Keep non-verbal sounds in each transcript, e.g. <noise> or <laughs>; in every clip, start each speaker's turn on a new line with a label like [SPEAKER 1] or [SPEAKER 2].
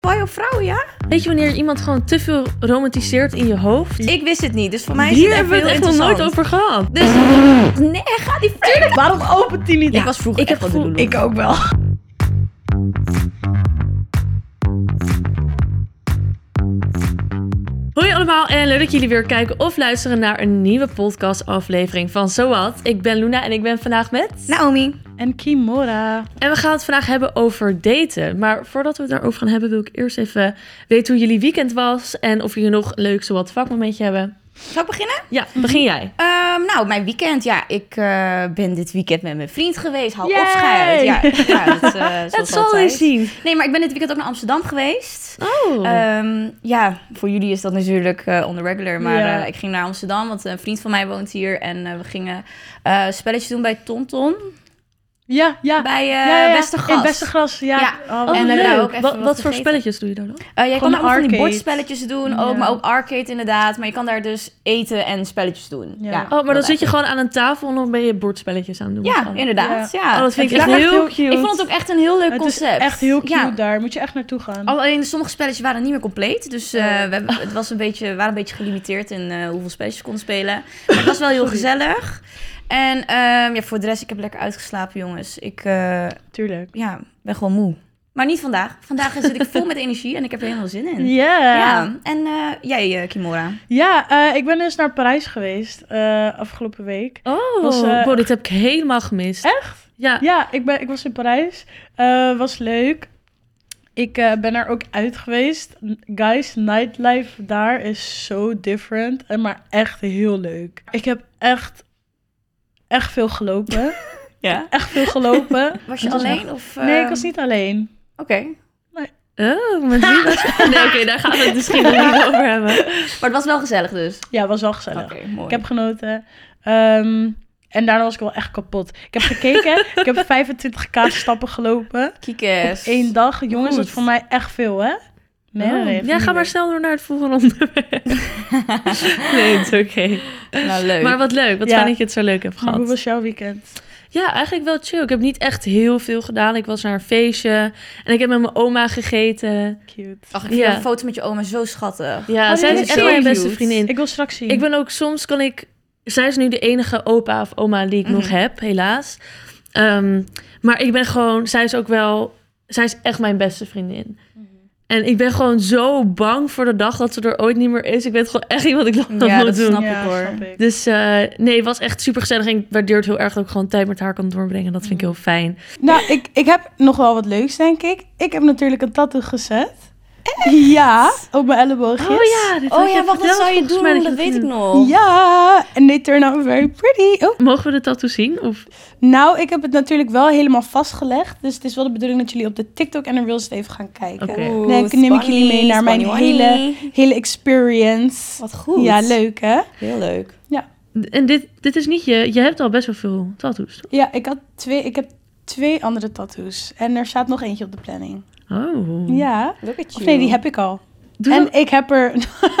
[SPEAKER 1] op vrouwen, ja?
[SPEAKER 2] Weet je wanneer iemand gewoon te veel romantiseert in je hoofd?
[SPEAKER 1] Ik wist het niet, dus voor mij is
[SPEAKER 2] Hier
[SPEAKER 1] het echt
[SPEAKER 2] hebben we
[SPEAKER 1] heel
[SPEAKER 2] het echt nog nooit
[SPEAKER 1] interessant.
[SPEAKER 2] over gehad.
[SPEAKER 1] Dus, nee, ga die Frank.
[SPEAKER 3] Waarom opent die niet?
[SPEAKER 2] Ja,
[SPEAKER 3] ik was vroeger
[SPEAKER 2] ik
[SPEAKER 3] echt
[SPEAKER 2] heb
[SPEAKER 3] wel de
[SPEAKER 2] gevoel-
[SPEAKER 3] doeloe.
[SPEAKER 1] Ik ook wel.
[SPEAKER 2] Hoi allemaal en leuk dat jullie weer kijken of luisteren naar een nieuwe podcast aflevering van Zowat. Ik ben Luna en ik ben vandaag met...
[SPEAKER 1] Naomi.
[SPEAKER 3] En Kimora.
[SPEAKER 2] En we gaan het vandaag hebben over daten. Maar voordat we het daarover gaan hebben wil ik eerst even weten hoe jullie weekend was. En of jullie nog een leuk Zowat vakmomentje hebben.
[SPEAKER 1] Zal ik beginnen?
[SPEAKER 2] Ja, begin jij.
[SPEAKER 1] Ehm, nou, mijn weekend. Ja, ik eh, ben dit weekend met mijn vriend geweest. Hou
[SPEAKER 3] Yay!
[SPEAKER 1] op, schijt. Ja,
[SPEAKER 2] <laughs>
[SPEAKER 1] ja, dat, eh, zoals
[SPEAKER 2] Dat zal je
[SPEAKER 1] altijd.
[SPEAKER 2] zien.
[SPEAKER 1] Nee, maar ik ben dit weekend ook naar Amsterdam geweest.
[SPEAKER 2] Oh.
[SPEAKER 1] Ehm, ja, voor jullie is dat natuurlijk eh on the regular. Maar
[SPEAKER 3] Ja.
[SPEAKER 1] eh, ik ging naar Amsterdam, want een vriend van mij woont hier. En eh, we gingen eh spelletjes doen bij Tonton.
[SPEAKER 3] Ja, ja.
[SPEAKER 1] Bij eh
[SPEAKER 3] ja, ja.
[SPEAKER 1] Beste
[SPEAKER 3] In
[SPEAKER 1] Gast.
[SPEAKER 3] beste gras, ja.
[SPEAKER 1] Ja.
[SPEAKER 3] Oh,
[SPEAKER 2] Oh,
[SPEAKER 1] en we
[SPEAKER 2] leuk.
[SPEAKER 1] hebben daar ook even
[SPEAKER 2] wat Oh,
[SPEAKER 1] wat
[SPEAKER 2] wat voor
[SPEAKER 1] gegeten.
[SPEAKER 2] spelletjes doe je daar dan?
[SPEAKER 1] Eh, jij
[SPEAKER 3] Gewoon
[SPEAKER 1] kan daar ook van die
[SPEAKER 3] arcade.
[SPEAKER 1] bordspelletjes doen, ook,
[SPEAKER 3] Ja.
[SPEAKER 1] maar ook arcade inderdaad. Maar je kan daar dus eten en spelletjes doen.
[SPEAKER 3] Ja.
[SPEAKER 1] Ja,
[SPEAKER 3] Oh,
[SPEAKER 2] Oh, maar dan zit je
[SPEAKER 1] eigenlijk.
[SPEAKER 2] gewoon aan een tafel en dan ben je bordspelletjes aan het doen. met z'n
[SPEAKER 1] Ja,
[SPEAKER 2] allen.
[SPEAKER 1] inderdaad.
[SPEAKER 3] Ah,
[SPEAKER 1] Ja.
[SPEAKER 2] Oh, dat vind ik
[SPEAKER 1] Het
[SPEAKER 2] echt
[SPEAKER 1] lag
[SPEAKER 2] heel
[SPEAKER 3] heel-
[SPEAKER 2] cute.
[SPEAKER 1] Ik vond het ook echt een heel leuk
[SPEAKER 3] het
[SPEAKER 1] concept.
[SPEAKER 3] is echt heel cute
[SPEAKER 1] Ja. Oh.
[SPEAKER 3] daar. Moet je echt naartoe gaan.
[SPEAKER 1] Alleen sommige spelletjes waren niet meer compleet. Dus eh,
[SPEAKER 3] Oh.
[SPEAKER 1] we hebben, het was een beetje, we waren een beetje gelimiteerd in eh, hoeveel spelletjes we konden spelen. Maar het was wel heel gezellig. En ehm, ja, voor de rest, ik heb lekker uitgeslapen, jongens. Ik eh,
[SPEAKER 3] Tuurlijk.
[SPEAKER 1] ja, ben gewoon moe. Maar niet vandaag. Vandaag zit ik
[SPEAKER 3] <laughs>
[SPEAKER 1] vol met energie en ik heb er helemaal zin in.
[SPEAKER 3] Ja.
[SPEAKER 1] Ja. En eh, jij, eh, Kimora?
[SPEAKER 3] Ja, eh, ik ben dus naar Parijs geweest eh, afgelopen week.
[SPEAKER 2] Oh,
[SPEAKER 3] Was, eh,
[SPEAKER 2] wow, dit heb ik helemaal gemist.
[SPEAKER 3] Echt?
[SPEAKER 2] Ja.
[SPEAKER 3] Ja, ik, ben, ik was in Parijs. Eh, was leuk. Ik eh, ben er ook uit geweest. Guys, nightlife daar is so different. En maar echt heel leuk. Ik heb echt, echt veel gelopen.
[SPEAKER 1] Ja.
[SPEAKER 3] echt veel gelopen.
[SPEAKER 2] <laughs>
[SPEAKER 1] Was je
[SPEAKER 3] Het was
[SPEAKER 1] alleen? Of,
[SPEAKER 2] Ehm,
[SPEAKER 1] eh,
[SPEAKER 3] Nee, ik was niet alleen.
[SPEAKER 1] Oké.
[SPEAKER 2] Oh, met wie was
[SPEAKER 3] <laughs>
[SPEAKER 2] je? Nee, oké,
[SPEAKER 1] <laughs>
[SPEAKER 2] daar gaan we het misschien nog niet over hebben.
[SPEAKER 1] Maar het was wel gezellig dus.
[SPEAKER 3] Ja, was wel gezellig.
[SPEAKER 1] mooi.
[SPEAKER 3] Ik heb genoten. Ehm, en daarna was ik wel echt kapot. Ik heb
[SPEAKER 2] <laughs>
[SPEAKER 3] gekeken. ik heb 25k stappen gelopen.
[SPEAKER 1] Kiekes.
[SPEAKER 3] Eén dag. Jongens, dat
[SPEAKER 2] Goed.
[SPEAKER 3] is voor mij echt veel, hè? Nee, nee,
[SPEAKER 2] Oh.
[SPEAKER 3] nee.
[SPEAKER 2] ja, ga maar snel door naar het volgende <laughs>
[SPEAKER 3] <laughs>
[SPEAKER 2] onderwerp. nee, het is oké.
[SPEAKER 1] Nou, leuk.
[SPEAKER 2] Maar wat leuk, wat
[SPEAKER 3] Ja.
[SPEAKER 2] fijn dat je het zo leuk hebt
[SPEAKER 3] Maar
[SPEAKER 2] gehad.
[SPEAKER 3] hoe was jouw weekend?
[SPEAKER 2] Ja, eigenlijk wel chill. Ik heb niet echt heel veel gedaan. Ik was naar een feestje en ik heb met mijn oma gegeten.
[SPEAKER 3] Cute.
[SPEAKER 1] Ach, ik vind
[SPEAKER 2] Ja.
[SPEAKER 1] een foto met je oma zo schattig.
[SPEAKER 2] Ja,
[SPEAKER 3] Oh,
[SPEAKER 2] zij
[SPEAKER 3] dit
[SPEAKER 2] is
[SPEAKER 3] is
[SPEAKER 2] echt
[SPEAKER 3] zo
[SPEAKER 2] mijn
[SPEAKER 1] cute.
[SPEAKER 2] beste vriendin.
[SPEAKER 3] Ik wil straks zien.
[SPEAKER 2] Ik
[SPEAKER 1] Mm-hmm.
[SPEAKER 2] ben ook soms kan ik. Zij is nu de enige opa of oma die ik nog
[SPEAKER 1] Mhm.
[SPEAKER 2] heb, helaas. Ehm, maar ik ben gewoon. Zij is ook wel. Zij is echt mijn beste vriendin.
[SPEAKER 1] Mm-hmm.
[SPEAKER 2] En ik ben gewoon zo bang voor de dag dat ze er ooit niet meer is. Ik weet gewoon echt niet wat ik dan
[SPEAKER 1] Ja,
[SPEAKER 2] moet
[SPEAKER 1] dat
[SPEAKER 2] doen.
[SPEAKER 1] snap
[SPEAKER 3] ja,
[SPEAKER 1] ik, hoor.
[SPEAKER 3] Snap ik.
[SPEAKER 2] Dus eh, nee, het was echt super gezellig. En ik waardeer het heel erg dat ik gewoon tijd met haar kan doorbrengen. Dat vind ik heel
[SPEAKER 1] Mm-hmm.
[SPEAKER 2] fijn.
[SPEAKER 3] Nou, ik, ik heb nog wel wat leuks, denk ik. Ik heb natuurlijk een tattoo gezet. Ja, op mijn elleboogjes.
[SPEAKER 2] Oh ja, dit had
[SPEAKER 1] Oh ja,
[SPEAKER 2] je
[SPEAKER 1] wacht, dat
[SPEAKER 2] verteld
[SPEAKER 1] zou je
[SPEAKER 2] volgens
[SPEAKER 1] doen,
[SPEAKER 2] mij
[SPEAKER 1] dat,
[SPEAKER 2] je
[SPEAKER 1] weet ik
[SPEAKER 2] doet.
[SPEAKER 1] nog.
[SPEAKER 3] Ja, en they turn out very pretty. Oh.
[SPEAKER 2] Mogen we de tattoo zien? Of...
[SPEAKER 3] Nou, ik heb het natuurlijk wel helemaal vastgelegd. Dus het is wel de bedoeling dat jullie op de TikTok en de Reels het even gaan kijken.
[SPEAKER 2] Oké.
[SPEAKER 1] Oeh,
[SPEAKER 3] Nee, ik- neem ik jullie mee naar mijn
[SPEAKER 1] Spanny Wanny.
[SPEAKER 3] Hele experience.
[SPEAKER 1] Wat goed.
[SPEAKER 3] Ja, leuk hè?
[SPEAKER 1] Heel leuk.
[SPEAKER 2] En dit, dit is niet je... Je hebt al best wel veel tattoos. toch?
[SPEAKER 3] Ja, ik, had twee, ik heb twee andere tattoos. En er staat nog eentje op de planning.
[SPEAKER 2] Oh.
[SPEAKER 1] Mm.
[SPEAKER 3] Ja.
[SPEAKER 1] Look at you.
[SPEAKER 3] Of nee, die heb ik al.
[SPEAKER 2] Doe
[SPEAKER 3] en
[SPEAKER 2] dat-
[SPEAKER 3] ik heb er. <laughs>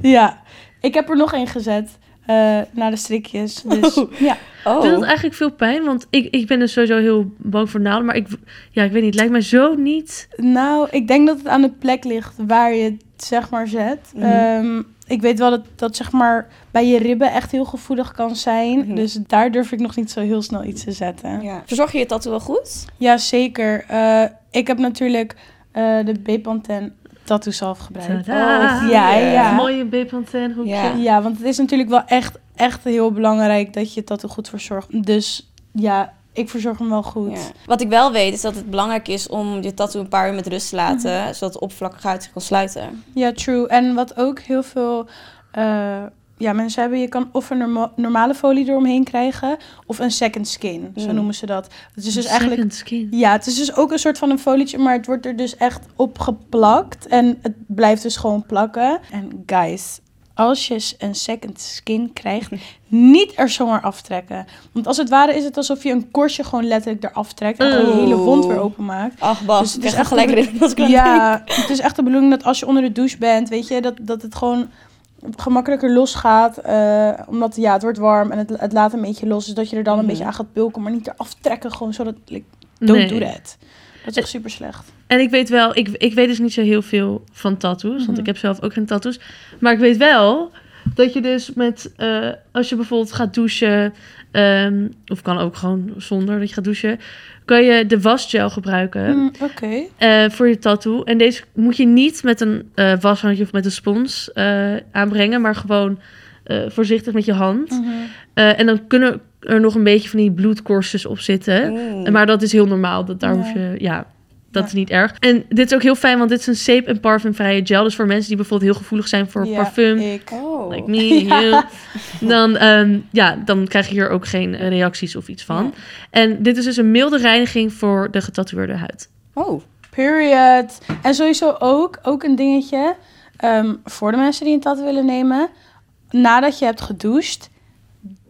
[SPEAKER 3] ja, ik heb er nog één gezet. eh naar de strikjes. Dus ja.
[SPEAKER 1] Oh.
[SPEAKER 2] Doet dat eigenlijk veel pijn? Want ik, ik ben dus sowieso heel bang voor naalden. Maar ik, ja, ik weet niet, het lijkt mij zo niet.
[SPEAKER 3] Nou, ik denk dat het aan de plek ligt waar je het zeg maar zet.
[SPEAKER 1] Mhm.
[SPEAKER 3] Ehm, ik weet wel dat dat zeg maar bij je ribben echt heel gevoelig kan zijn.
[SPEAKER 1] Mhm.
[SPEAKER 3] Dus daar durf ik nog niet zo heel snel iets te zetten.
[SPEAKER 1] Ja. Verzorg je je tattoo wel goed?
[SPEAKER 3] Ja, zeker. Eh, ik heb natuurlijk eh, de Bepanthen tattoo zelf gebruikt.
[SPEAKER 2] Tadaa.
[SPEAKER 3] Oh, ja, ja.
[SPEAKER 2] Mooie Bepanthen hoekje.
[SPEAKER 1] Ja.
[SPEAKER 3] Ja, want het is natuurlijk wel echt, echt heel belangrijk dat je tattoo goed verzorgt. Dus ja, ik verzorg hem wel goed.
[SPEAKER 1] Ja. Wat ik wel weet is dat het belangrijk is om je tattoo een paar uur met rust te laten,
[SPEAKER 3] Mhm.
[SPEAKER 1] zodat de oppervlakkig uit zich kan sluiten.
[SPEAKER 3] Ja, true. En wat ook heel veel eh, ja, mensen hebben, je kan of een norma- normale folie eromheen krijgen, of een second skin, zo
[SPEAKER 1] Mm.
[SPEAKER 3] noemen ze dat. Het is dus
[SPEAKER 2] Second
[SPEAKER 3] eigenlijk,
[SPEAKER 2] skin.
[SPEAKER 3] ja, het is dus ook een soort van een folietje, maar het wordt er dus echt op geplakt en het blijft dus gewoon plakken. En guys, als je een second skin krijgt, niet er zomaar aftrekken. Want als het ware is het alsof je een korstje gewoon letterlijk eraf trekt en gewoon je hele wond weer
[SPEAKER 1] Oeh.
[SPEAKER 3] openmaakt.
[SPEAKER 1] Ach, Bas,
[SPEAKER 3] Dus het
[SPEAKER 1] ik
[SPEAKER 3] is
[SPEAKER 1] krijg
[SPEAKER 3] echt
[SPEAKER 1] echt gelijk
[SPEAKER 3] een-
[SPEAKER 1] ritme als ik eraan denk.
[SPEAKER 3] Ja, het is echt de bedoeling dat als je onder de douche bent, weet je, dat, dat het gewoon gemakkelijker losgaat. eh omdat ja, het wordt warm en het, het laat een beetje los. Dus dat je er dan een
[SPEAKER 1] Mhm.
[SPEAKER 3] beetje aan gaat pulken, maar niet eraf trekken. Gewoon zodat, like,
[SPEAKER 2] Nee. Eh,
[SPEAKER 3] don't do that. Dat is echt super slecht.
[SPEAKER 2] En ik weet wel, ik, ik weet dus niet zo heel veel van tattoos, want
[SPEAKER 3] Mhm.
[SPEAKER 2] ik heb zelf ook geen tattoos. Maar ik weet wel dat je dus met, eh, als je bijvoorbeeld gaat douchen, ehm, of kan ook gewoon zonder dat je gaat douchen, kan je de wasgel gebruiken
[SPEAKER 3] Mm, Oké.
[SPEAKER 2] eh, voor je tattoo. En deze moet je niet met een eh washandje of met een spons eh, aanbrengen, maar gewoon eh, voorzichtig met je hand.
[SPEAKER 3] Mhm.
[SPEAKER 2] Eh, en dan kunnen er nog een beetje van die bloedkorstjes op zitten.
[SPEAKER 1] Oeh.
[SPEAKER 2] En Maar dat is heel normaal. Dat daar
[SPEAKER 3] Ja.
[SPEAKER 2] hoef je, ja, dat
[SPEAKER 3] Ja.
[SPEAKER 2] is niet erg. En dit is ook heel fijn, want dit is een zeep- en parfumvrije gel. Dus voor mensen die bijvoorbeeld heel gevoelig zijn voor
[SPEAKER 3] Ja,
[SPEAKER 2] parfum,
[SPEAKER 3] Ik.
[SPEAKER 1] Oh.
[SPEAKER 2] like me,
[SPEAKER 3] <laughs>
[SPEAKER 2] you, dan, ehm, ja, dan krijg je hier ook geen eh, reacties of iets van.
[SPEAKER 1] Ja.
[SPEAKER 2] En dit is dus een milde reiniging voor de getatoeëerde huid.
[SPEAKER 1] Oh.
[SPEAKER 3] Period. En sowieso ook, ook een dingetje ehm, voor de mensen die een tattoo willen nemen. Nadat je hebt gedoucht,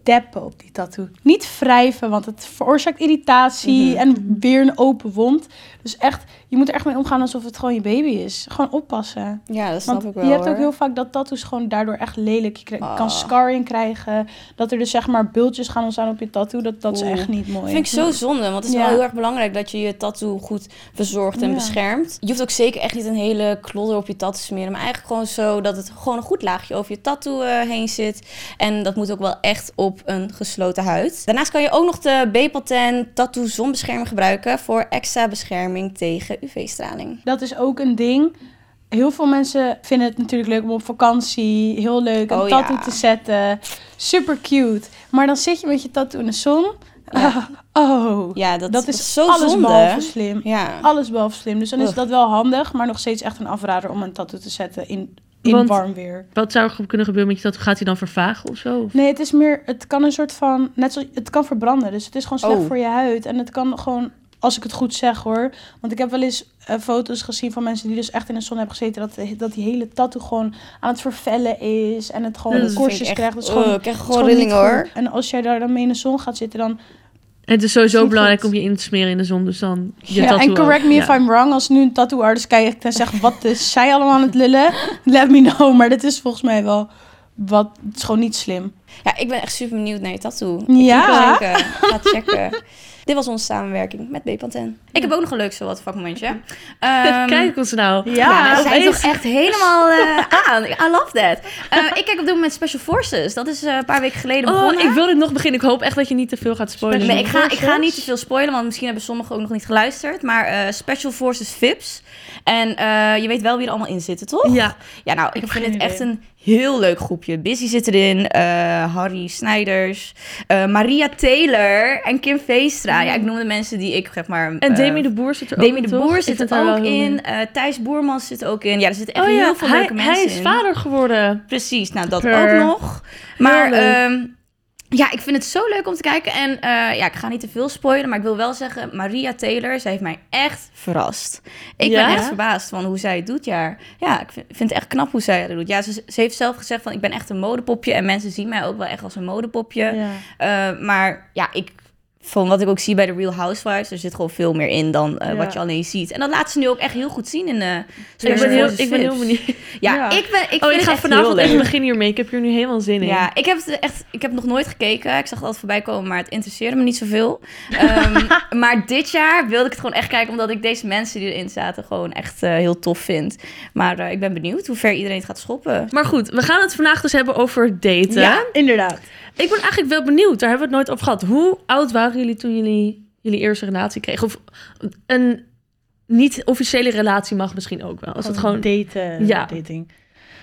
[SPEAKER 3] deppen op die tattoo. Niet wrijven, want het veroorzaakt irritatie
[SPEAKER 1] Mhm.
[SPEAKER 3] en weer een open wond. Dus echt, je moet er echt mee omgaan alsof het gewoon je baby is. Gewoon oppassen.
[SPEAKER 1] Ja, dat snap
[SPEAKER 3] Want
[SPEAKER 1] ik wel.
[SPEAKER 3] je hebt ook
[SPEAKER 1] hoor.
[SPEAKER 3] heel vaak dat tattoos gewoon daardoor echt lelijk. Je kri-
[SPEAKER 1] Ah.
[SPEAKER 3] kan scarring krijgen. Dat er dus zeg maar bultjes gaan ontstaan op je tattoo. Dat, dat is
[SPEAKER 1] Oeh.
[SPEAKER 3] echt niet mooi.
[SPEAKER 1] Dat vind ik zo zonde, want het is wel
[SPEAKER 3] Ja.
[SPEAKER 1] heel erg belangrijk dat je je tattoo goed verzorgt en
[SPEAKER 3] Ja.
[SPEAKER 1] beschermt. Je hoeft ook zeker echt niet een hele klodder op je tattoo te smeren, maar eigenlijk gewoon zo dat het gewoon een goed laagje over je tattoo eh, heen zit. En dat moet ook wel echt op een gesloten huid. Daarnaast kan je ook nog de B-patent tattoo zonbeschermer gebruiken voor extra bescherming tegen UV-straling.
[SPEAKER 3] Dat is ook een ding. Heel veel mensen vinden het natuurlijk leuk om op vakantie heel leuk een
[SPEAKER 1] Oh,
[SPEAKER 3] tattoo
[SPEAKER 1] ja.
[SPEAKER 3] te zetten. Super cute. Maar dan zit je met je tattoo in de zon.
[SPEAKER 1] Ja.
[SPEAKER 3] oh,
[SPEAKER 1] Ja, dat,
[SPEAKER 3] dat, is
[SPEAKER 1] zo
[SPEAKER 3] alles
[SPEAKER 1] zonde.
[SPEAKER 3] behalve slim.
[SPEAKER 1] Ja.
[SPEAKER 3] Alles behalve slim. Dus dan is
[SPEAKER 1] Ugh.
[SPEAKER 3] dat wel handig, maar nog steeds echt een afrader om een tattoo te zetten in, in
[SPEAKER 2] Want-
[SPEAKER 3] warm weer.
[SPEAKER 2] Wat zou er ge- kunnen gebeuren met je tattoo? Gaat hij dan vervagen of zo? Of-
[SPEAKER 3] Nee, het is meer, het kan een soort van, net zoals, het kan verbranden. Dus het is gewoon slecht
[SPEAKER 1] Oh.
[SPEAKER 3] voor je huid. En het kan gewoon, als ik het goed zeg hoor. Want ik heb wel eens eh, foto's gezien van mensen die dus echt in de zon hebben gezeten. Dat, dat die hele tattoo gewoon aan het vervellen is. En het gewoon
[SPEAKER 2] Ja,
[SPEAKER 1] Dat vind
[SPEAKER 2] de
[SPEAKER 1] ik
[SPEAKER 3] korstjes
[SPEAKER 1] echt-
[SPEAKER 3] krijgt. Dus
[SPEAKER 1] oh,
[SPEAKER 3] gewoon,
[SPEAKER 1] ik krijg
[SPEAKER 3] het is
[SPEAKER 1] gewoon
[SPEAKER 3] gewoon niet
[SPEAKER 1] rillingen hoor.
[SPEAKER 3] goed. En als jij daar dan mee in de zon gaat zitten, dan...
[SPEAKER 2] Het is sowieso
[SPEAKER 3] Is niet
[SPEAKER 2] belangrijk
[SPEAKER 3] goed.
[SPEAKER 2] om je in te smeren in de zon, dus dan je
[SPEAKER 3] Ja,
[SPEAKER 2] tattoo
[SPEAKER 3] en
[SPEAKER 2] ook.
[SPEAKER 3] correct me
[SPEAKER 2] Ja.
[SPEAKER 3] if I'm wrong. Als nu een tattoo artist kijkt en zegt, wat is zij allemaal aan het lullen? <laughs> Let me know. Maar dit is volgens mij wel... Wat, het is gewoon niet slim.
[SPEAKER 1] Ja, ik ben echt super benieuwd naar je tattoo.
[SPEAKER 3] Ja.
[SPEAKER 1] Ik ga checken. Ga checken. <laughs> Dit was onze samenwerking met Bepanten. Ik heb ook nog een leuk zowat vakmomentje.
[SPEAKER 2] <laughs>
[SPEAKER 1] Ehm,
[SPEAKER 2] Kijk ons nou.
[SPEAKER 1] Ja, we zijn
[SPEAKER 2] opeens.
[SPEAKER 1] toch echt helemaal eh, aan. I love that. Eh, ik kijk op dit moment Special Forces. Dat is eh, een paar weken geleden
[SPEAKER 2] Oh,
[SPEAKER 1] begonnen.
[SPEAKER 2] ik wil dit nog beginnen. Ik hoop echt dat je niet te veel gaat spoilen.
[SPEAKER 1] Nee, ik ga, ik ga
[SPEAKER 3] Forces?
[SPEAKER 1] niet te veel spoilen, want misschien hebben sommigen ook nog niet geluisterd. Maar eh, Special Forces VIPs. En eh, je weet wel wie er allemaal in zitten, toch?
[SPEAKER 2] Ja,
[SPEAKER 1] Ja, nou, ik,
[SPEAKER 2] heb
[SPEAKER 1] vind
[SPEAKER 2] geen
[SPEAKER 1] het echt
[SPEAKER 2] idee.
[SPEAKER 1] een heel leuk groepje. Busy zit erin, eh, Harry Snijders, eh, Maria Taylor en Kim Veestra. Ja, ik noem de mensen die ik zeg maar...
[SPEAKER 2] Hmm. En
[SPEAKER 1] eh,
[SPEAKER 2] Demi de Boer zit er ook
[SPEAKER 1] Demi
[SPEAKER 2] in,
[SPEAKER 1] de
[SPEAKER 2] toch?
[SPEAKER 1] Boer
[SPEAKER 2] Ik
[SPEAKER 1] zit
[SPEAKER 2] vind
[SPEAKER 1] er
[SPEAKER 2] haar
[SPEAKER 1] ook
[SPEAKER 2] wel heel
[SPEAKER 1] in.
[SPEAKER 2] leuk.
[SPEAKER 1] eh, Thijs Boermans zit er ook in. Ja, er zitten echt
[SPEAKER 2] oh ja,
[SPEAKER 1] heel veel
[SPEAKER 2] hij,
[SPEAKER 1] leuke mensen
[SPEAKER 2] hij is
[SPEAKER 1] in.
[SPEAKER 2] vader geworden.
[SPEAKER 1] Precies, nou dat
[SPEAKER 2] Per.
[SPEAKER 1] ook nog. Maar
[SPEAKER 2] leuk.
[SPEAKER 1] ehm, ja, ik vind het zo leuk om te kijken. En eh, ja, ik ga niet te veel spoilen, maar ik wil wel zeggen... Maria Taylor, zij heeft mij echt verrast. Ik
[SPEAKER 2] Ja?
[SPEAKER 1] ben echt verbaasd van hoe zij het doet, ja. Ja, ik vind, vind het echt knap hoe zij het doet. Ja, ze, ze heeft zelf gezegd van, ik ben echt een modepopje. En mensen zien mij ook wel echt als een modepopje. Eh, maar ja, ik, van wat ik ook zie bij de Real Housewives... er zit gewoon veel meer in dan eh,
[SPEAKER 2] Ja.
[SPEAKER 1] wat je alleen ziet. En dat laat ze nu ook echt heel goed zien in... eh
[SPEAKER 2] Ik
[SPEAKER 1] Special
[SPEAKER 2] ben heel,
[SPEAKER 1] Forces
[SPEAKER 2] ik ben heel
[SPEAKER 1] Vips.
[SPEAKER 2] benieuwd.
[SPEAKER 1] Ja,
[SPEAKER 3] Ja.
[SPEAKER 1] ik ben. Ik
[SPEAKER 2] oh,
[SPEAKER 1] vind
[SPEAKER 2] ik
[SPEAKER 1] het
[SPEAKER 2] ga
[SPEAKER 1] echt heel
[SPEAKER 2] vanavond
[SPEAKER 1] leuk.
[SPEAKER 2] even beginnen hiermee. Ik heb hier nu helemaal zin in.
[SPEAKER 1] Ja, ik heb het echt. Ik heb nog nooit gekeken. Ik zag het altijd voorbij komen, maar het interesseerde me niet zoveel. Ehm,
[SPEAKER 2] <laughs>
[SPEAKER 1] maar dit jaar wilde ik het gewoon echt kijken, omdat ik deze mensen die erin zaten gewoon echt eh, heel tof vind. Maar eh, ik ben benieuwd hoe ver iedereen het gaat schoppen.
[SPEAKER 2] Maar goed, we gaan het vandaag dus hebben over daten.
[SPEAKER 1] Ja?
[SPEAKER 3] Inderdaad.
[SPEAKER 2] Ik ben eigenlijk wel benieuwd. Daar hebben we het nooit over gehad. Hoe oud waren jullie toen jullie jullie eerste relatie kregen? Of een niet-officiële relatie mag misschien ook wel.
[SPEAKER 1] Oh.
[SPEAKER 2] Als het gewoon...
[SPEAKER 3] daten,
[SPEAKER 2] Ja.
[SPEAKER 3] dating.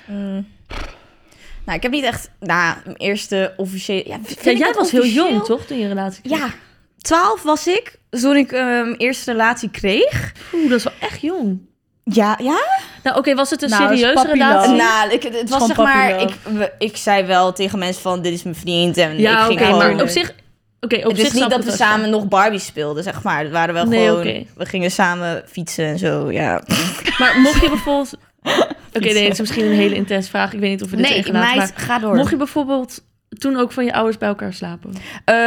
[SPEAKER 1] Mm. Nou, ik heb niet echt. Nou, mijn eerste officiële. Ja, vind
[SPEAKER 2] Ja,
[SPEAKER 1] ik
[SPEAKER 2] jij
[SPEAKER 1] dat
[SPEAKER 2] was heel
[SPEAKER 1] officieel?
[SPEAKER 2] jong, toch? Toen je een relatie kreeg.
[SPEAKER 1] Ja, 12 was ik toen ik eh, mijn eerste relatie kreeg.
[SPEAKER 2] Oeh, dat is wel echt jong.
[SPEAKER 1] Ja, ja.
[SPEAKER 2] Nou, oké, was het een
[SPEAKER 3] Nou, dat is
[SPEAKER 2] serieuze
[SPEAKER 3] puppy love.
[SPEAKER 2] relatie?
[SPEAKER 3] Oh.
[SPEAKER 1] Nou, ik, het was
[SPEAKER 3] gewoon
[SPEAKER 1] zeg maar, ik,
[SPEAKER 3] puppy
[SPEAKER 1] we- ik zei wel tegen mensen van, dit is mijn vriend en ik
[SPEAKER 2] ja,
[SPEAKER 1] ging
[SPEAKER 2] oké,
[SPEAKER 1] gewoon...
[SPEAKER 2] maar op zich... Oké, op
[SPEAKER 1] het is
[SPEAKER 2] zich snap
[SPEAKER 1] niet dat
[SPEAKER 2] ik
[SPEAKER 1] we
[SPEAKER 2] wel.
[SPEAKER 1] samen nog Barbie speelden, zeg maar. Het waren wel
[SPEAKER 2] Nee,
[SPEAKER 1] gewoon...
[SPEAKER 2] oké.
[SPEAKER 1] We gingen samen fietsen en zo, ja.
[SPEAKER 2] Maar mocht je bijvoorbeeld...
[SPEAKER 1] <laughs>
[SPEAKER 2] Oké, nee, het is misschien een hele intense vraag. Ik weet niet of we dit
[SPEAKER 1] Nee,
[SPEAKER 2] tegen laten,
[SPEAKER 1] meid,
[SPEAKER 2] maar...
[SPEAKER 1] ga door.
[SPEAKER 2] Mocht je bijvoorbeeld toen ook van je ouders bij elkaar slapen?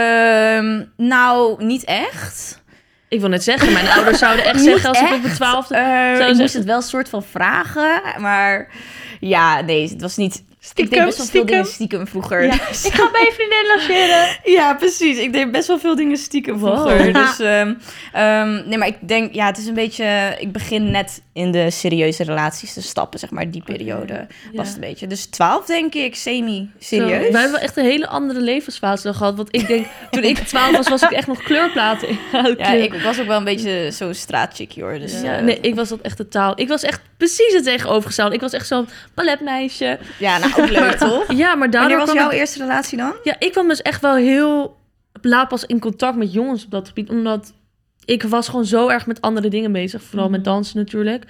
[SPEAKER 1] Ehm, nou, niet echt.
[SPEAKER 2] Ik wil net
[SPEAKER 1] <laughs>
[SPEAKER 2] zeggen, mijn ouders zouden echt zeggen als ik op mijn
[SPEAKER 1] echt.
[SPEAKER 2] twaalfde...
[SPEAKER 1] Eh,
[SPEAKER 2] Zou
[SPEAKER 1] ik
[SPEAKER 2] ze-
[SPEAKER 1] moest het wel soort van vragen, maar... Ja, nee, het was niet... ik
[SPEAKER 2] Stiekem,
[SPEAKER 1] deed best wel veel
[SPEAKER 2] stiekem.
[SPEAKER 1] dingen stiekem vroeger.
[SPEAKER 2] <laughs>
[SPEAKER 3] Ja.
[SPEAKER 2] Ik ga bij je vriendin logeren.
[SPEAKER 1] <laughs> Ja, precies. Ik deed best wel veel dingen stiekem
[SPEAKER 2] Wow. <laughs>
[SPEAKER 1] vroeger. Dus, ehm, ehm, nee, maar ik denk, ja, het is een beetje... Ik begin net in de serieuze relaties te stappen, zeg maar. Die
[SPEAKER 2] Oh,
[SPEAKER 1] periode was het een beetje. Dus 12 denk ik,
[SPEAKER 2] Zo,
[SPEAKER 1] semi-serieus.
[SPEAKER 2] wij hebben wel echt een hele andere levensfase dan gehad. Want ik denk, toen ik 12 was, was ik echt nog kleurplaten. in aan het
[SPEAKER 1] Ja,
[SPEAKER 2] kleuren.
[SPEAKER 1] ik was ook wel een beetje zo'n straatchickie hoor. Dus,
[SPEAKER 2] Ja,
[SPEAKER 1] eh,
[SPEAKER 2] nee, ik was dat echt totaal. Ik was echt precies het tegenovergestelde. Ik was echt zo'n balletmeisje.
[SPEAKER 1] ja, nou ook
[SPEAKER 2] <laughs>
[SPEAKER 1] leuk toch?
[SPEAKER 2] Ja, maar daardoor
[SPEAKER 1] Wanneer was
[SPEAKER 2] kwam
[SPEAKER 1] jouw
[SPEAKER 2] ik-
[SPEAKER 1] eerste relatie dan?
[SPEAKER 2] Ja, ik kwam dus echt wel heel laat pas in contact met jongens op dat gebied. Omdat ik was gewoon zo erg met andere dingen bezig. Vooral
[SPEAKER 1] Mhm.
[SPEAKER 2] met dansen natuurlijk.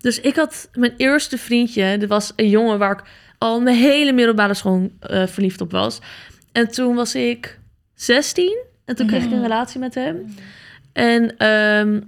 [SPEAKER 2] Dus ik had mijn eerste vriendje. Dat was een jongen waar ik al mijn hele middelbare school eh, verliefd op was. En toen was ik 16. En toen kreeg ik
[SPEAKER 1] Mhm.
[SPEAKER 2] een relatie met hem. En ehm,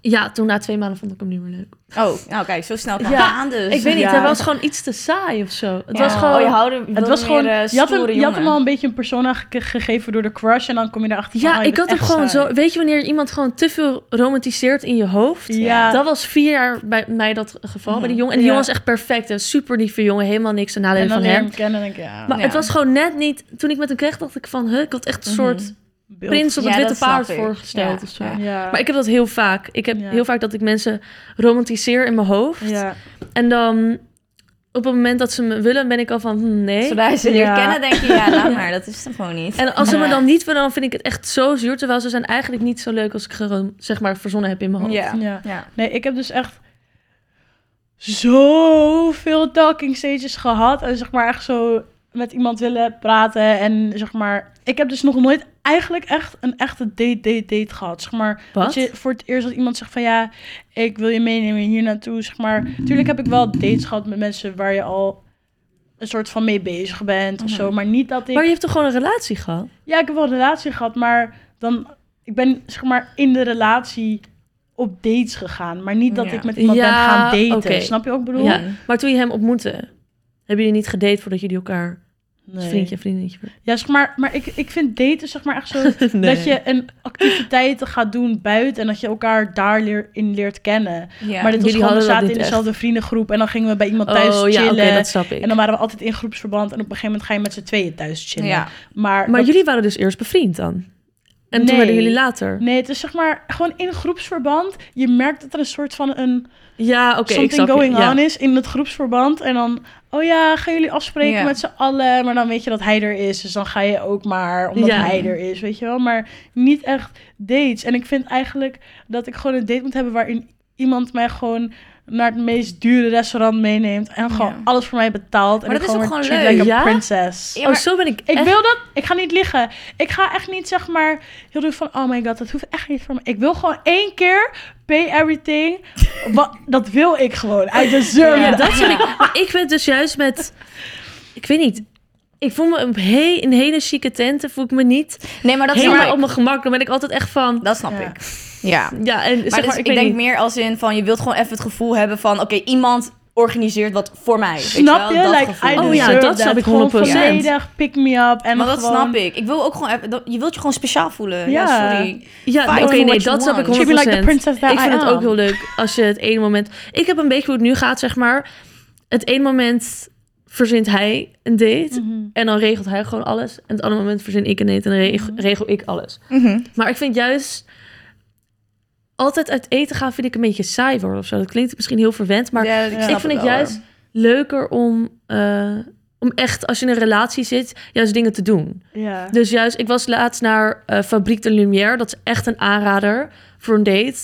[SPEAKER 2] ja, toen na twee maanden vond ik hem niet meer leuk.
[SPEAKER 1] Oh, nou kijk, zo snel kan
[SPEAKER 2] Ja,
[SPEAKER 1] aan dus.
[SPEAKER 2] ik weet niet,
[SPEAKER 1] Ja.
[SPEAKER 2] hij was gewoon iets te saai of zo. Het
[SPEAKER 1] Ja.
[SPEAKER 2] was gewoon...
[SPEAKER 1] Oh, je houdt hem-
[SPEAKER 3] Het was
[SPEAKER 1] wilde
[SPEAKER 3] gewoon,
[SPEAKER 1] meer, eh,
[SPEAKER 3] je, had hem,
[SPEAKER 1] stoere
[SPEAKER 3] je had hem
[SPEAKER 1] jongen.
[SPEAKER 3] al een beetje een persona ge- gegeven door de crush. En dan kom je erachter van,
[SPEAKER 2] Ja,
[SPEAKER 3] oh, je
[SPEAKER 2] ik had hem
[SPEAKER 3] bent echt
[SPEAKER 2] gewoon
[SPEAKER 3] saai.
[SPEAKER 2] zo. Weet je wanneer iemand gewoon te veel romantiseert in je hoofd?
[SPEAKER 3] Ja.
[SPEAKER 2] Dat was vier jaar bij mij dat geval bij die jongen. En die
[SPEAKER 3] Ja.
[SPEAKER 2] jongen was echt perfect. Een super lieve jongen, helemaal niks te nadelen
[SPEAKER 3] en dan
[SPEAKER 2] van
[SPEAKER 3] leer je
[SPEAKER 2] hem.
[SPEAKER 3] hem kennen en denk ik, ja,
[SPEAKER 2] Maar
[SPEAKER 1] Ja.
[SPEAKER 2] het was gewoon net niet. Toen ik met hem kreeg, dacht ik van, huh, ik had echt een soort
[SPEAKER 3] beeld.
[SPEAKER 2] prins op
[SPEAKER 1] Ja,
[SPEAKER 2] het
[SPEAKER 1] dat
[SPEAKER 2] witte
[SPEAKER 1] snap
[SPEAKER 2] paard
[SPEAKER 1] ik.
[SPEAKER 2] voorgesteld
[SPEAKER 1] Ja,
[SPEAKER 2] of zo.
[SPEAKER 1] ja.
[SPEAKER 3] Ja.
[SPEAKER 2] Maar ik heb dat heel vaak. Ik heb
[SPEAKER 3] Ja.
[SPEAKER 2] heel vaak dat ik mensen romantiseer in mijn hoofd.
[SPEAKER 3] ja.
[SPEAKER 2] En dan op het moment dat ze me willen, ben ik al van, hm, nee.
[SPEAKER 1] Zodra ze je
[SPEAKER 3] Ja.
[SPEAKER 1] kennen, denk je, ja,
[SPEAKER 2] <laughs>
[SPEAKER 1] laat maar, dat is hem gewoon niet.
[SPEAKER 2] En als ze
[SPEAKER 3] Ja.
[SPEAKER 2] me dan niet willen, dan vind ik het echt zo zuur. Terwijl ze zijn eigenlijk niet zo leuk als ik gewoon, zeg maar, verzonnen heb in mijn hoofd.
[SPEAKER 1] ja.
[SPEAKER 3] Ja.
[SPEAKER 1] ja.
[SPEAKER 3] Nee, ik heb dus echt zoveel talking stages gehad. En zeg maar echt zo met iemand willen praten. En zeg maar, ik heb dus nog nooit eigenlijk echt een echte date, date, date gehad. Zeg maar,
[SPEAKER 2] Wat?
[SPEAKER 3] dat je voor het eerst dat iemand zegt van ja, ik wil je meenemen hier naartoe. Zeg maar, tuurlijk heb ik wel dates gehad met mensen waar je al een soort van mee bezig bent of zo. Maar niet dat ik...
[SPEAKER 2] Mhm. Maar je hebt toch gewoon een relatie gehad?
[SPEAKER 3] Ja, ik heb wel een relatie gehad, maar dan... Ik ben, zeg maar, in de relatie op dates gegaan. Maar niet dat
[SPEAKER 1] Ja.
[SPEAKER 3] ik met iemand ben
[SPEAKER 2] Ja,
[SPEAKER 3] gaan daten.
[SPEAKER 2] oké.
[SPEAKER 3] Snap je ook bedoel?
[SPEAKER 2] Ja. Maar toen je hem ontmoette, hebben jullie niet gedate voordat jullie elkaar
[SPEAKER 3] Nee.
[SPEAKER 2] vriendje en
[SPEAKER 3] <laughs>
[SPEAKER 2] vriendinnetje
[SPEAKER 3] Ja, zeg maar, maar ik, ik vind daten, zeg maar,
[SPEAKER 2] <laughs>
[SPEAKER 3] echt zo... Dat
[SPEAKER 2] Oh,
[SPEAKER 3] je een activiteit gaat doen buiten en dat je elkaar daar leer, in leert kennen.
[SPEAKER 1] Ja.
[SPEAKER 3] maar dit was
[SPEAKER 2] Jullie
[SPEAKER 3] gewoon,
[SPEAKER 2] hadden
[SPEAKER 3] we
[SPEAKER 2] dat
[SPEAKER 3] zaten in
[SPEAKER 2] niet echt.
[SPEAKER 3] dezelfde vriendengroep en dan gingen we bij iemand thuis
[SPEAKER 2] Oh
[SPEAKER 3] chillen.
[SPEAKER 2] ja, oké, dat snap ik.
[SPEAKER 3] En dan waren we altijd in groepsverband en op een gegeven moment ga je met z'n tweeën thuis chillen.
[SPEAKER 1] Ja.
[SPEAKER 3] Maar,
[SPEAKER 2] Maar
[SPEAKER 3] dat-
[SPEAKER 2] jullie waren dus eerst bevriend dan? En toen
[SPEAKER 3] Nee.
[SPEAKER 2] werden jullie later?
[SPEAKER 3] Nee, het is zeg maar gewoon in groepsverband. Je merkt dat er een soort van een...
[SPEAKER 2] Ja, oké, ik snap
[SPEAKER 3] something
[SPEAKER 2] je.
[SPEAKER 3] going
[SPEAKER 2] ja.
[SPEAKER 3] on is in het groepsverband. En dan, oh ja, gaan jullie afspreken
[SPEAKER 1] Ja.
[SPEAKER 3] met z'n allen. Maar dan weet je dat hij er is. Dus dan ga je ook maar omdat
[SPEAKER 2] Ja.
[SPEAKER 3] hij er is, weet je wel. Maar niet echt dates. En ik vind eigenlijk dat ik gewoon een date moet hebben waarin iemand mij gewoon naar het meest dure restaurant meeneemt. En gewoon
[SPEAKER 1] Ja.
[SPEAKER 3] alles voor mij betaalt.
[SPEAKER 1] Maar
[SPEAKER 3] en
[SPEAKER 1] dat is
[SPEAKER 3] ik gewoon
[SPEAKER 1] ook
[SPEAKER 3] weer
[SPEAKER 1] gewoon
[SPEAKER 3] treat like
[SPEAKER 2] leuk,
[SPEAKER 3] a
[SPEAKER 2] ja?
[SPEAKER 3] princess.
[SPEAKER 1] Ja, maar-
[SPEAKER 2] Oh, zo ben ik
[SPEAKER 3] Ik
[SPEAKER 2] echt-
[SPEAKER 3] wil dat. Ik ga niet liggen. Ik ga echt niet zeg maar heel druk van oh my god, dat hoeft echt niet voor me. Ik wil gewoon één keer pay everything. <laughs> Wat, dat wil ik gewoon. I deserve
[SPEAKER 1] Ja,
[SPEAKER 2] Ja,
[SPEAKER 3] it.
[SPEAKER 2] dat soort dingen. Maar ik ben dus juist
[SPEAKER 3] <laughs>
[SPEAKER 2] met... Ik weet niet. Ik voel me een he- in hele chique tenten voel ik me niet
[SPEAKER 1] Nee, maar dat
[SPEAKER 2] helemaal op
[SPEAKER 1] snap ik.
[SPEAKER 2] mijn gemak. Dan ben ik altijd echt van...
[SPEAKER 1] Dat snap
[SPEAKER 3] Ja.
[SPEAKER 1] ik. Ja.
[SPEAKER 2] Ja, en zeg
[SPEAKER 1] Maar
[SPEAKER 2] maar,
[SPEAKER 1] dus
[SPEAKER 2] ik
[SPEAKER 1] ik
[SPEAKER 2] weet
[SPEAKER 1] denk
[SPEAKER 2] niet.
[SPEAKER 1] meer als in van je wilt gewoon even het gevoel hebben van oké, iemand organiseert wat voor mij. weet
[SPEAKER 3] Snap
[SPEAKER 1] je?
[SPEAKER 3] je?
[SPEAKER 1] wel, Dat
[SPEAKER 3] Like, I
[SPEAKER 1] gevoel.
[SPEAKER 2] Oh
[SPEAKER 3] deserve
[SPEAKER 2] ja, dat snap
[SPEAKER 3] that.
[SPEAKER 2] ik
[SPEAKER 3] Gewoon
[SPEAKER 2] 100%.
[SPEAKER 3] volledig pick me up. En
[SPEAKER 1] maar dat
[SPEAKER 3] gewoon,
[SPEAKER 1] snap ik. Ik wil ook gewoon even, dat- je wilt je gewoon speciaal voelen. Ja,
[SPEAKER 3] Ja.
[SPEAKER 1] sorry.
[SPEAKER 2] Ja,
[SPEAKER 1] Fight
[SPEAKER 2] oké,
[SPEAKER 1] for
[SPEAKER 2] nee,
[SPEAKER 1] what you
[SPEAKER 2] dat snap ik 100%.
[SPEAKER 1] want.
[SPEAKER 3] Should be like the princess that
[SPEAKER 2] ik vind
[SPEAKER 3] I
[SPEAKER 2] het
[SPEAKER 3] am.
[SPEAKER 2] ook heel leuk als je het ene moment... Ik heb een beetje hoe het nu gaat, zeg maar. Het ene moment verzint hij een date
[SPEAKER 1] Mm.
[SPEAKER 3] Mm-hmm.
[SPEAKER 2] en dan regelt hij gewoon alles. En het andere moment verzin ik een date en dan reg-
[SPEAKER 1] Mm.
[SPEAKER 2] regel ik alles. Maar ik vind juist... Altijd uit eten gaan vind ik een beetje saai worden of zo. Dat klinkt misschien heel verwend, maar
[SPEAKER 1] Ja, snap
[SPEAKER 2] ik vind het
[SPEAKER 1] wel,
[SPEAKER 2] juist
[SPEAKER 1] hoor.
[SPEAKER 2] leuker om, eh, om echt, als je in een relatie zit, juist dingen te doen.
[SPEAKER 3] Ja.
[SPEAKER 2] Dus juist, ik was laatst naar eh Fabriek de Lumière. Dat is echt een aanrader voor een date.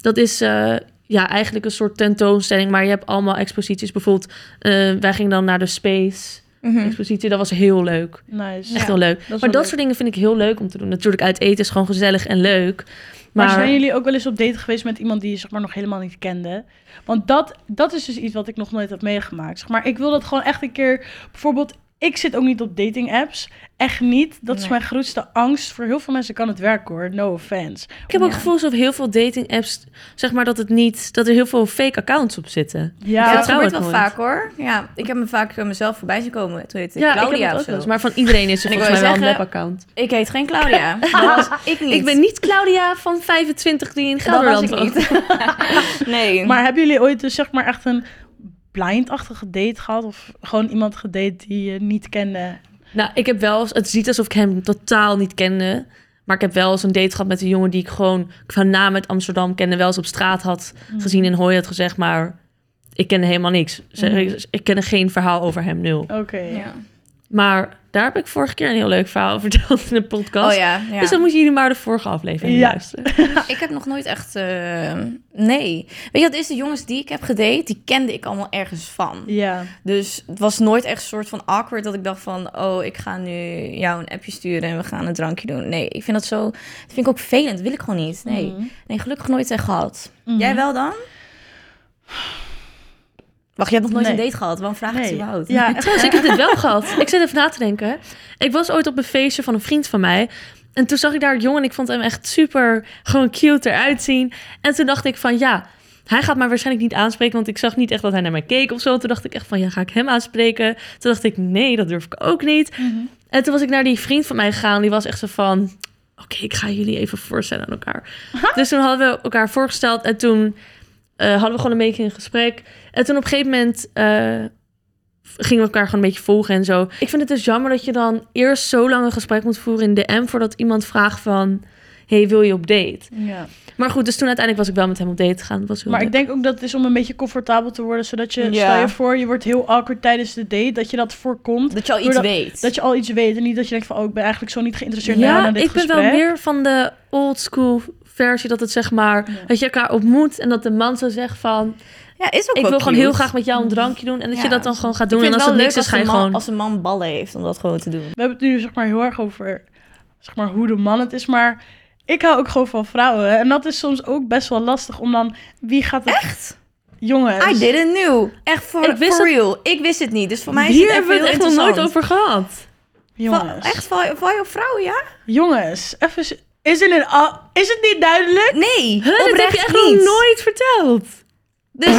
[SPEAKER 2] Dat is eh, ja, eigenlijk een soort tentoonstelling, maar je hebt allemaal exposities. Bijvoorbeeld, eh, wij gingen dan naar de Space
[SPEAKER 1] Mhm.
[SPEAKER 2] expositie. Dat was heel leuk.
[SPEAKER 3] Nice.
[SPEAKER 2] Echt
[SPEAKER 1] Hm. Ja,
[SPEAKER 2] heel leuk.
[SPEAKER 3] wel
[SPEAKER 2] maar dat
[SPEAKER 3] leuk.
[SPEAKER 2] soort dingen vind ik heel leuk om te doen. Natuurlijk, uit eten is gewoon gezellig en leuk.
[SPEAKER 3] Maar,
[SPEAKER 2] Maar,
[SPEAKER 3] zijn jullie ook wel eens op date geweest met iemand die je zeg maar, nog helemaal niet kende? Want dat, dat is dus iets wat ik nog nooit heb meegemaakt. Zeg maar ik wil dat gewoon echt een keer. Bijvoorbeeld, ik zit ook niet op dating apps. Echt niet. Dat is
[SPEAKER 1] Nee.
[SPEAKER 3] mijn grootste angst. Voor heel veel mensen kan het werken hoor. No offense.
[SPEAKER 2] ik heb ook het gevoel alsof heel veel dating apps, zeg maar dat het niet, dat er heel veel fake accounts op zitten.
[SPEAKER 1] Ja,
[SPEAKER 3] Ja,
[SPEAKER 1] dat
[SPEAKER 2] vertrouw
[SPEAKER 1] gebeurt
[SPEAKER 2] het
[SPEAKER 1] wel
[SPEAKER 2] nooit.
[SPEAKER 1] vaak hoor. Ja, ik heb me vaak eh, mezelf voorbij zien komen. Toen heette ik
[SPEAKER 2] Ja, ik heb
[SPEAKER 1] Claudia
[SPEAKER 2] het
[SPEAKER 1] of
[SPEAKER 2] ook wel eens.
[SPEAKER 1] zo.
[SPEAKER 2] Maar van iedereen is er
[SPEAKER 1] En ik
[SPEAKER 2] volgens mij
[SPEAKER 1] wou
[SPEAKER 2] wel een
[SPEAKER 1] zeggen-
[SPEAKER 2] webaccount.
[SPEAKER 1] Ik heet geen
[SPEAKER 2] <laughs>
[SPEAKER 1] Claudia. dat was ik niet.
[SPEAKER 2] Ik ben niet Claudia van 25 die in
[SPEAKER 1] dat was
[SPEAKER 2] Gelderland
[SPEAKER 1] ik niet. <laughs> nee.
[SPEAKER 3] maar hebben jullie ooit dus zeg maar echt een blind-achtige date gehad? Of gewoon iemand gedate die je niet kende?
[SPEAKER 2] Nou, ik heb wel eens, het ziet alsof ik hem totaal niet kende. Maar ik heb wel eens een date gehad met een jongen die ik gewoon qua naam uit Amsterdam kende. Wel eens op straat had
[SPEAKER 1] Mm.
[SPEAKER 2] gezien en hooi had gezegd, maar ik kende helemaal niks. Zeg,
[SPEAKER 1] Mm.
[SPEAKER 3] Mhm.
[SPEAKER 2] ik- Ik kende geen verhaal over hem, nul.
[SPEAKER 3] Oké.
[SPEAKER 1] Ja.
[SPEAKER 2] Maar daar heb ik vorige keer een heel leuk verhaal over verteld in de podcast.
[SPEAKER 1] Oh ja, ja.
[SPEAKER 2] Dus dan moeten jullie maar de vorige aflevering
[SPEAKER 3] Ja.
[SPEAKER 2] luisteren.
[SPEAKER 1] <laughs> ik heb nog nooit echt... eh, nee. Weet je, dat is de jongens die ik heb gedate, die kende ik allemaal ergens van.
[SPEAKER 3] Ja.
[SPEAKER 1] Dus het was nooit echt een soort van awkward dat ik dacht van... oh, ik ga nu jou een appje sturen en we gaan een drankje doen. Nee, ik vind dat zo... Dat vind ik ook vervelend. Dat wil ik gewoon niet. Nee,
[SPEAKER 3] Mhm.
[SPEAKER 1] nee gelukkig nooit echt gehad.
[SPEAKER 3] Mhm.
[SPEAKER 1] Jij wel dan? Wacht, jij hebt nog nooit
[SPEAKER 3] Nee.
[SPEAKER 1] een date gehad. Waarom vraag ik het
[SPEAKER 3] Nee.
[SPEAKER 1] überhaupt? <laughs>
[SPEAKER 3] Ja, echt.
[SPEAKER 2] Trouwens, ik heb dit wel gehad. Ik zit even na te denken. Ik was ooit op een feestje van een vriend van mij. En toen zag ik daar een jongen en ik vond hem echt super gewoon cute eruit zien. En toen dacht ik van ja, hij gaat mij waarschijnlijk niet aanspreken. Want ik zag niet echt dat hij naar mij keek of zo. Toen dacht ik echt van ja, ga ik hem aanspreken? Toen dacht ik nee, dat durf ik ook niet. En toen was ik naar die vriend van mij gegaan. Die was echt zo van... Oké, ik ga jullie even voorstellen aan elkaar. Dus toen hadden we elkaar voorgesteld. En toen eh, hadden we gewoon een beetje een gesprek. En toen op een gegeven moment... eh, gingen we elkaar gewoon een beetje volgen en zo. Ik vind het dus jammer dat je dan eerst zo lang een gesprek moet voeren in DM... voordat iemand vraagt van... hey, wil je op date?
[SPEAKER 3] ja.
[SPEAKER 2] Maar goed, dus toen uiteindelijk was ik wel met hem op date gegaan. Dat was heel
[SPEAKER 3] Maar
[SPEAKER 2] leuk.
[SPEAKER 3] ik denk ook dat het is om een beetje comfortabel te worden. Zodat je,
[SPEAKER 1] Ja.
[SPEAKER 3] stel je voor, je wordt heel awkward tijdens de date. Dat je dat voorkomt.
[SPEAKER 1] Dat je al iets
[SPEAKER 3] Doordat-
[SPEAKER 1] weet.
[SPEAKER 3] Dat je al iets weet en niet dat je denkt van... oh, ik ben eigenlijk zo niet geïnteresseerd
[SPEAKER 2] ja,
[SPEAKER 3] naar naar dit
[SPEAKER 2] ik ben
[SPEAKER 3] gesprek.
[SPEAKER 2] wel meer van de old school versie dat het zeg maar
[SPEAKER 3] Ja.
[SPEAKER 2] dat je elkaar ontmoet en dat de man zo zegt van
[SPEAKER 1] ja, is ook
[SPEAKER 2] ik
[SPEAKER 1] wel
[SPEAKER 2] wil gewoon
[SPEAKER 1] cute.
[SPEAKER 2] heel graag met jou een drankje doen en dat je
[SPEAKER 1] Ja.
[SPEAKER 2] dat dan gewoon gaat
[SPEAKER 1] Ik
[SPEAKER 2] doen
[SPEAKER 1] vind
[SPEAKER 2] en als
[SPEAKER 1] het
[SPEAKER 2] het
[SPEAKER 1] wel
[SPEAKER 2] niks
[SPEAKER 1] leuk
[SPEAKER 2] is
[SPEAKER 1] als
[SPEAKER 2] ga
[SPEAKER 1] een
[SPEAKER 2] je
[SPEAKER 1] man-
[SPEAKER 2] gewoon
[SPEAKER 1] Als een man ballen heeft om dat gewoon te doen.
[SPEAKER 3] We hebben het nu zeg maar heel erg over zeg maar, hoe de man het is, maar ik hou ook gewoon van vrouwen. En dat is soms ook best wel lastig om dan wie gaat het
[SPEAKER 1] Echt?
[SPEAKER 3] jongens.
[SPEAKER 1] I didn't know. Echt voor
[SPEAKER 2] Ik wist
[SPEAKER 1] for
[SPEAKER 2] het-
[SPEAKER 1] real. Ik wist het niet. Dus voor mij is
[SPEAKER 2] hier
[SPEAKER 1] het echt
[SPEAKER 2] hebben we
[SPEAKER 1] heel
[SPEAKER 2] het echt nog nooit
[SPEAKER 1] interessant.
[SPEAKER 2] over gehad.
[SPEAKER 3] jongens.
[SPEAKER 1] Va- echt, val, val je op vrouwen, ja?
[SPEAKER 3] Jongens, even s- is het, een, a- is het niet duidelijk?
[SPEAKER 1] Nee,
[SPEAKER 2] Huh, dat heb
[SPEAKER 1] oprecht
[SPEAKER 2] je echt
[SPEAKER 1] niet.
[SPEAKER 2] nog nooit verteld.
[SPEAKER 1] Dus,